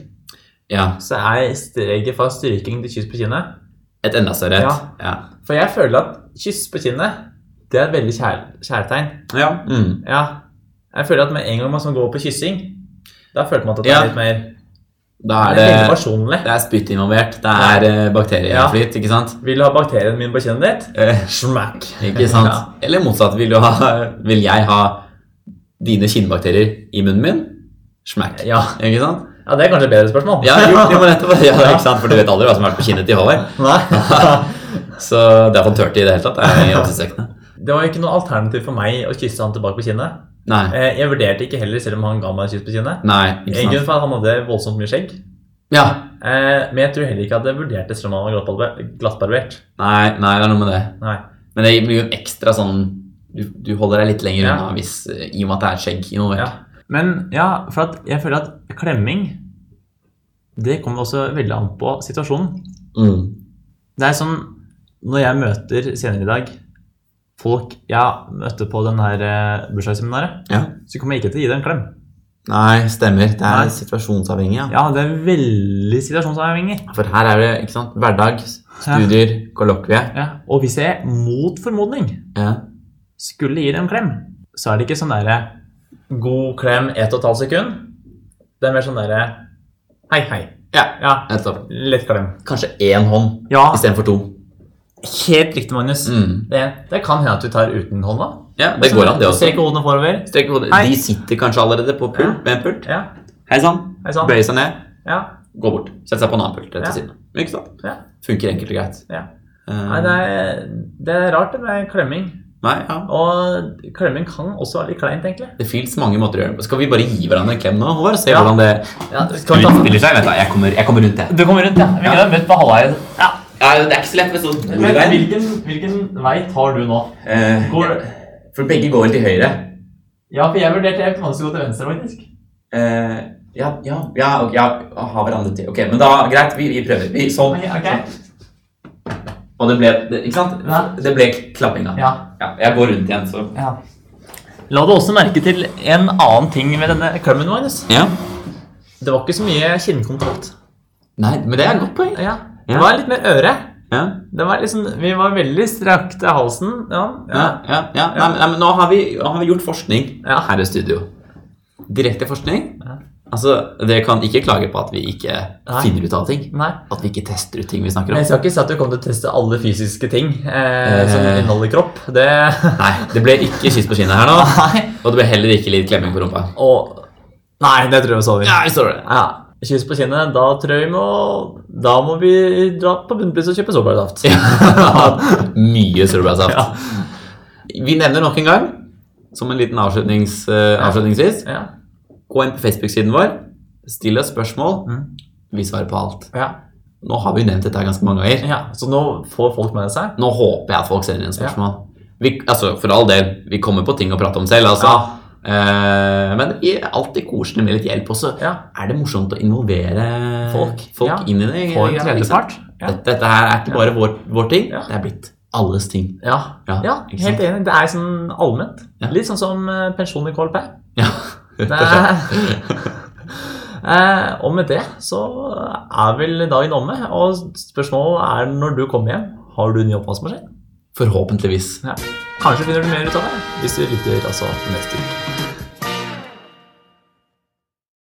Ja,
så er steget fra stryking til kyss på kinnet
Et enda større et. Ja.
For jeg føler at kyss på kinnet, det er et veldig kjær, kjærtegn.
Ja. Mm.
Ja. Jeg føler at med en gang man sånn går på kyssing, da føler man at det
Ja.
er litt mer
Da er
det
det,
er veldig personlig.
det er spytt involvert. Det er eh, bakterieflyt, ikke sant?
Vil du ha bakterien min på kinnet ditt?
Eh, [LAUGHS]
Smack.
ikke sant?
Ja.
Eller motsatt. Vil, du ha, vil jeg ha dine kinnbakterier i munnen min? Smack.
Ja.
Ikke sant?
ja, det er kanskje et bedre spørsmål. [LAUGHS]
Ja, jo, jo, men nettopp. Ja, ikke sant? For du vet aldri hva som har vært på kinnet til Håvard.
Nei.
Så det er han tørte i det hele tatt. Det er oppsiktsvekkende.
Det var jo ikke noe alternativ for meg å kysse han tilbake på kinnet.
Nei.
Eh, Jeg vurderte ikke heller, selv om han ga meg et kyss på kinnet.
Nei, ikke
En grunn
sant.
for at han hadde voldsomt mye skjegg.
Ja.
Eh, Men jeg tror heller ikke at jeg vurderte selv om han var glattbarber- glattbarbert.
Nei, nei, det er noe med det.
Nei.
Men det blir jo en ekstra sånn Du, du holder deg litt lenger
Ja.
unna hvis, eh, i og med at det er skjegg involvert.
Ja. Men ja, for at jeg føler at klemming Det kommer også veldig an på situasjonen.
Mm.
Det er sånn Når jeg møter senere i dag folk jeg møtte på den her eh, bursdagsseminaret,
ja.
så kommer jeg ikke til å gi deg en klem.
Nei, stemmer. Det
Nei.
er situasjonsavhengig. Ja.
Ja, det er veldig situasjonsavhengig.
For her er det ikke sant, hverdag, studier, kollokvie.
Ja. Og hvis jeg mot formodning
Ja.
skulle gi deg en klem, så er det ikke sånn derre God klem, ett og et halvt sekund. Det er mer sånn derre Hei, hei.
Ja.
Ja,
Nettopp.
lett klem.
Kanskje én hånd
Ja,
istedenfor to.
helt riktig, Magnus.
Mm.
Det, det kan hende at du tar uten hånda.
Ja, det går an, det også.
Strekker hodene forover.
Strekke hodet.
Hei.
De sitter kanskje allerede på pult,
Ja.
med en pult.
Ja,
Hei sann.
hei sann.
Bøye seg ned,
Ja.
gå bort. Sette seg på en annen pult rett
Ja.
til siden. Ikke sant?
Ja.
Funker enkelt og greit.
Ja.
Eh,
Nei, det er, det er rart det med klemming.
nei, ja.
Og klemming kan også være litt kleint, egentlig.
Det fins mange måter å gjøre det på. Skal vi bare gi hverandre en klem nå, Håvard? og Se
Ja.
hvordan det
Ja, du
utspiller seg? Vent da, jeg kommer, jeg kommer rundt, jeg.
kommer rundt, ja. Vi
kunne
møtt på halvveien. Ja.
Ja, det er ikke så lett med sånn
hvilken, vei tar du nå?
Eh,
Går,
For begge går vel til høyre.
ja, for jeg vurderte jeg automatisk å gå til venstre, faktisk.
Eh, ja, ja, ja, ok, ja, ha hverandre til. Ok, men da, greit, vi, vi prøver. Vi, sånn.
Ok, ok.
Og det ble, det, ikke sant?
Ja.
Det ble klapping da.
Ja.
jeg går rundt igjen, så.
ja. La du også merke til en annen ting med denne klemmen, Magnus.
Ja.
Det var ikke så mye kinnkontakt.
Nei, men det er et godt poeng.
Ja. Det
Ja.
var litt mer øre.
Ja,
Det var liksom, vi var veldig strakte i halsen. Ja,
ja,
ja.
ja. ja. Nei, men- nei, men nå har vi, nå har vi gjort forskning
Ja.
her i studio. Direkte forskning.
Ja.
Altså, dere kan ikke klage på at vi ikke
Nei.
finner ut av ting.
Nei.
At vi ikke tester ut ting vi snakker
Men
om.
Jeg skal ikke si at du kom til å teste alle fysiske ting eh, som
Eh.
inneholder kropp. Det [LAUGHS]
Nei, det ble ikke kyss på kinnet her nå.
Nei.
Og det ble heller ikke litt klemming på rumpa.
Og Nei, det tror jeg vi sover.
Ja, vi [LAUGHS] står det.
Ja. Kyss på kinnet. Da tror jeg vi må Da må vi dra på Bunnpris og kjøpe solbærsaft.
Mye solbærsaft.
Ja.
Vi nevner nok en gang, som en liten avslutnings, eh, avslutningsvis,
[LAUGHS] Ja.
gå inn på Facebook-siden vår, still oss spørsmål,
Mm.
vi svarer på alt.
Ja.
Nå har vi jo nevnt dette her ganske mange ganger.
ja. Så nå får folk med seg.
Nå håper jeg at folk sender inn spørsmål. Vi, altså, for all del, vi kommer på ting å prate om selv, altså.
Ja.
Eh, men det er alltid koselig med litt hjelp også.
Ja.
Er det morsomt å involvere
Folk. Ja.
inn i det?
Få en
Ja, ikke sant?
tredjepart. Ja.
Dette, dette her er ikke bare vår, vår ting,
Ja.
det er blitt alles ting.
Ja.
Ja,
ja,
ikke sant?
helt enig. Det er sånn allment.
Ja.
Litt sånn som eh, pensjon i KLP.
Ja.
Det er- [LAUGHS] Eh, og med det så er vel dagen omme. Og spørsmålet er når du kommer hjem, har du ny oppvaskmaskin?
[LAUGHS] Forhåpentligvis.
Kanskje finner du mer ut av det hvis du lytter altså neste uke.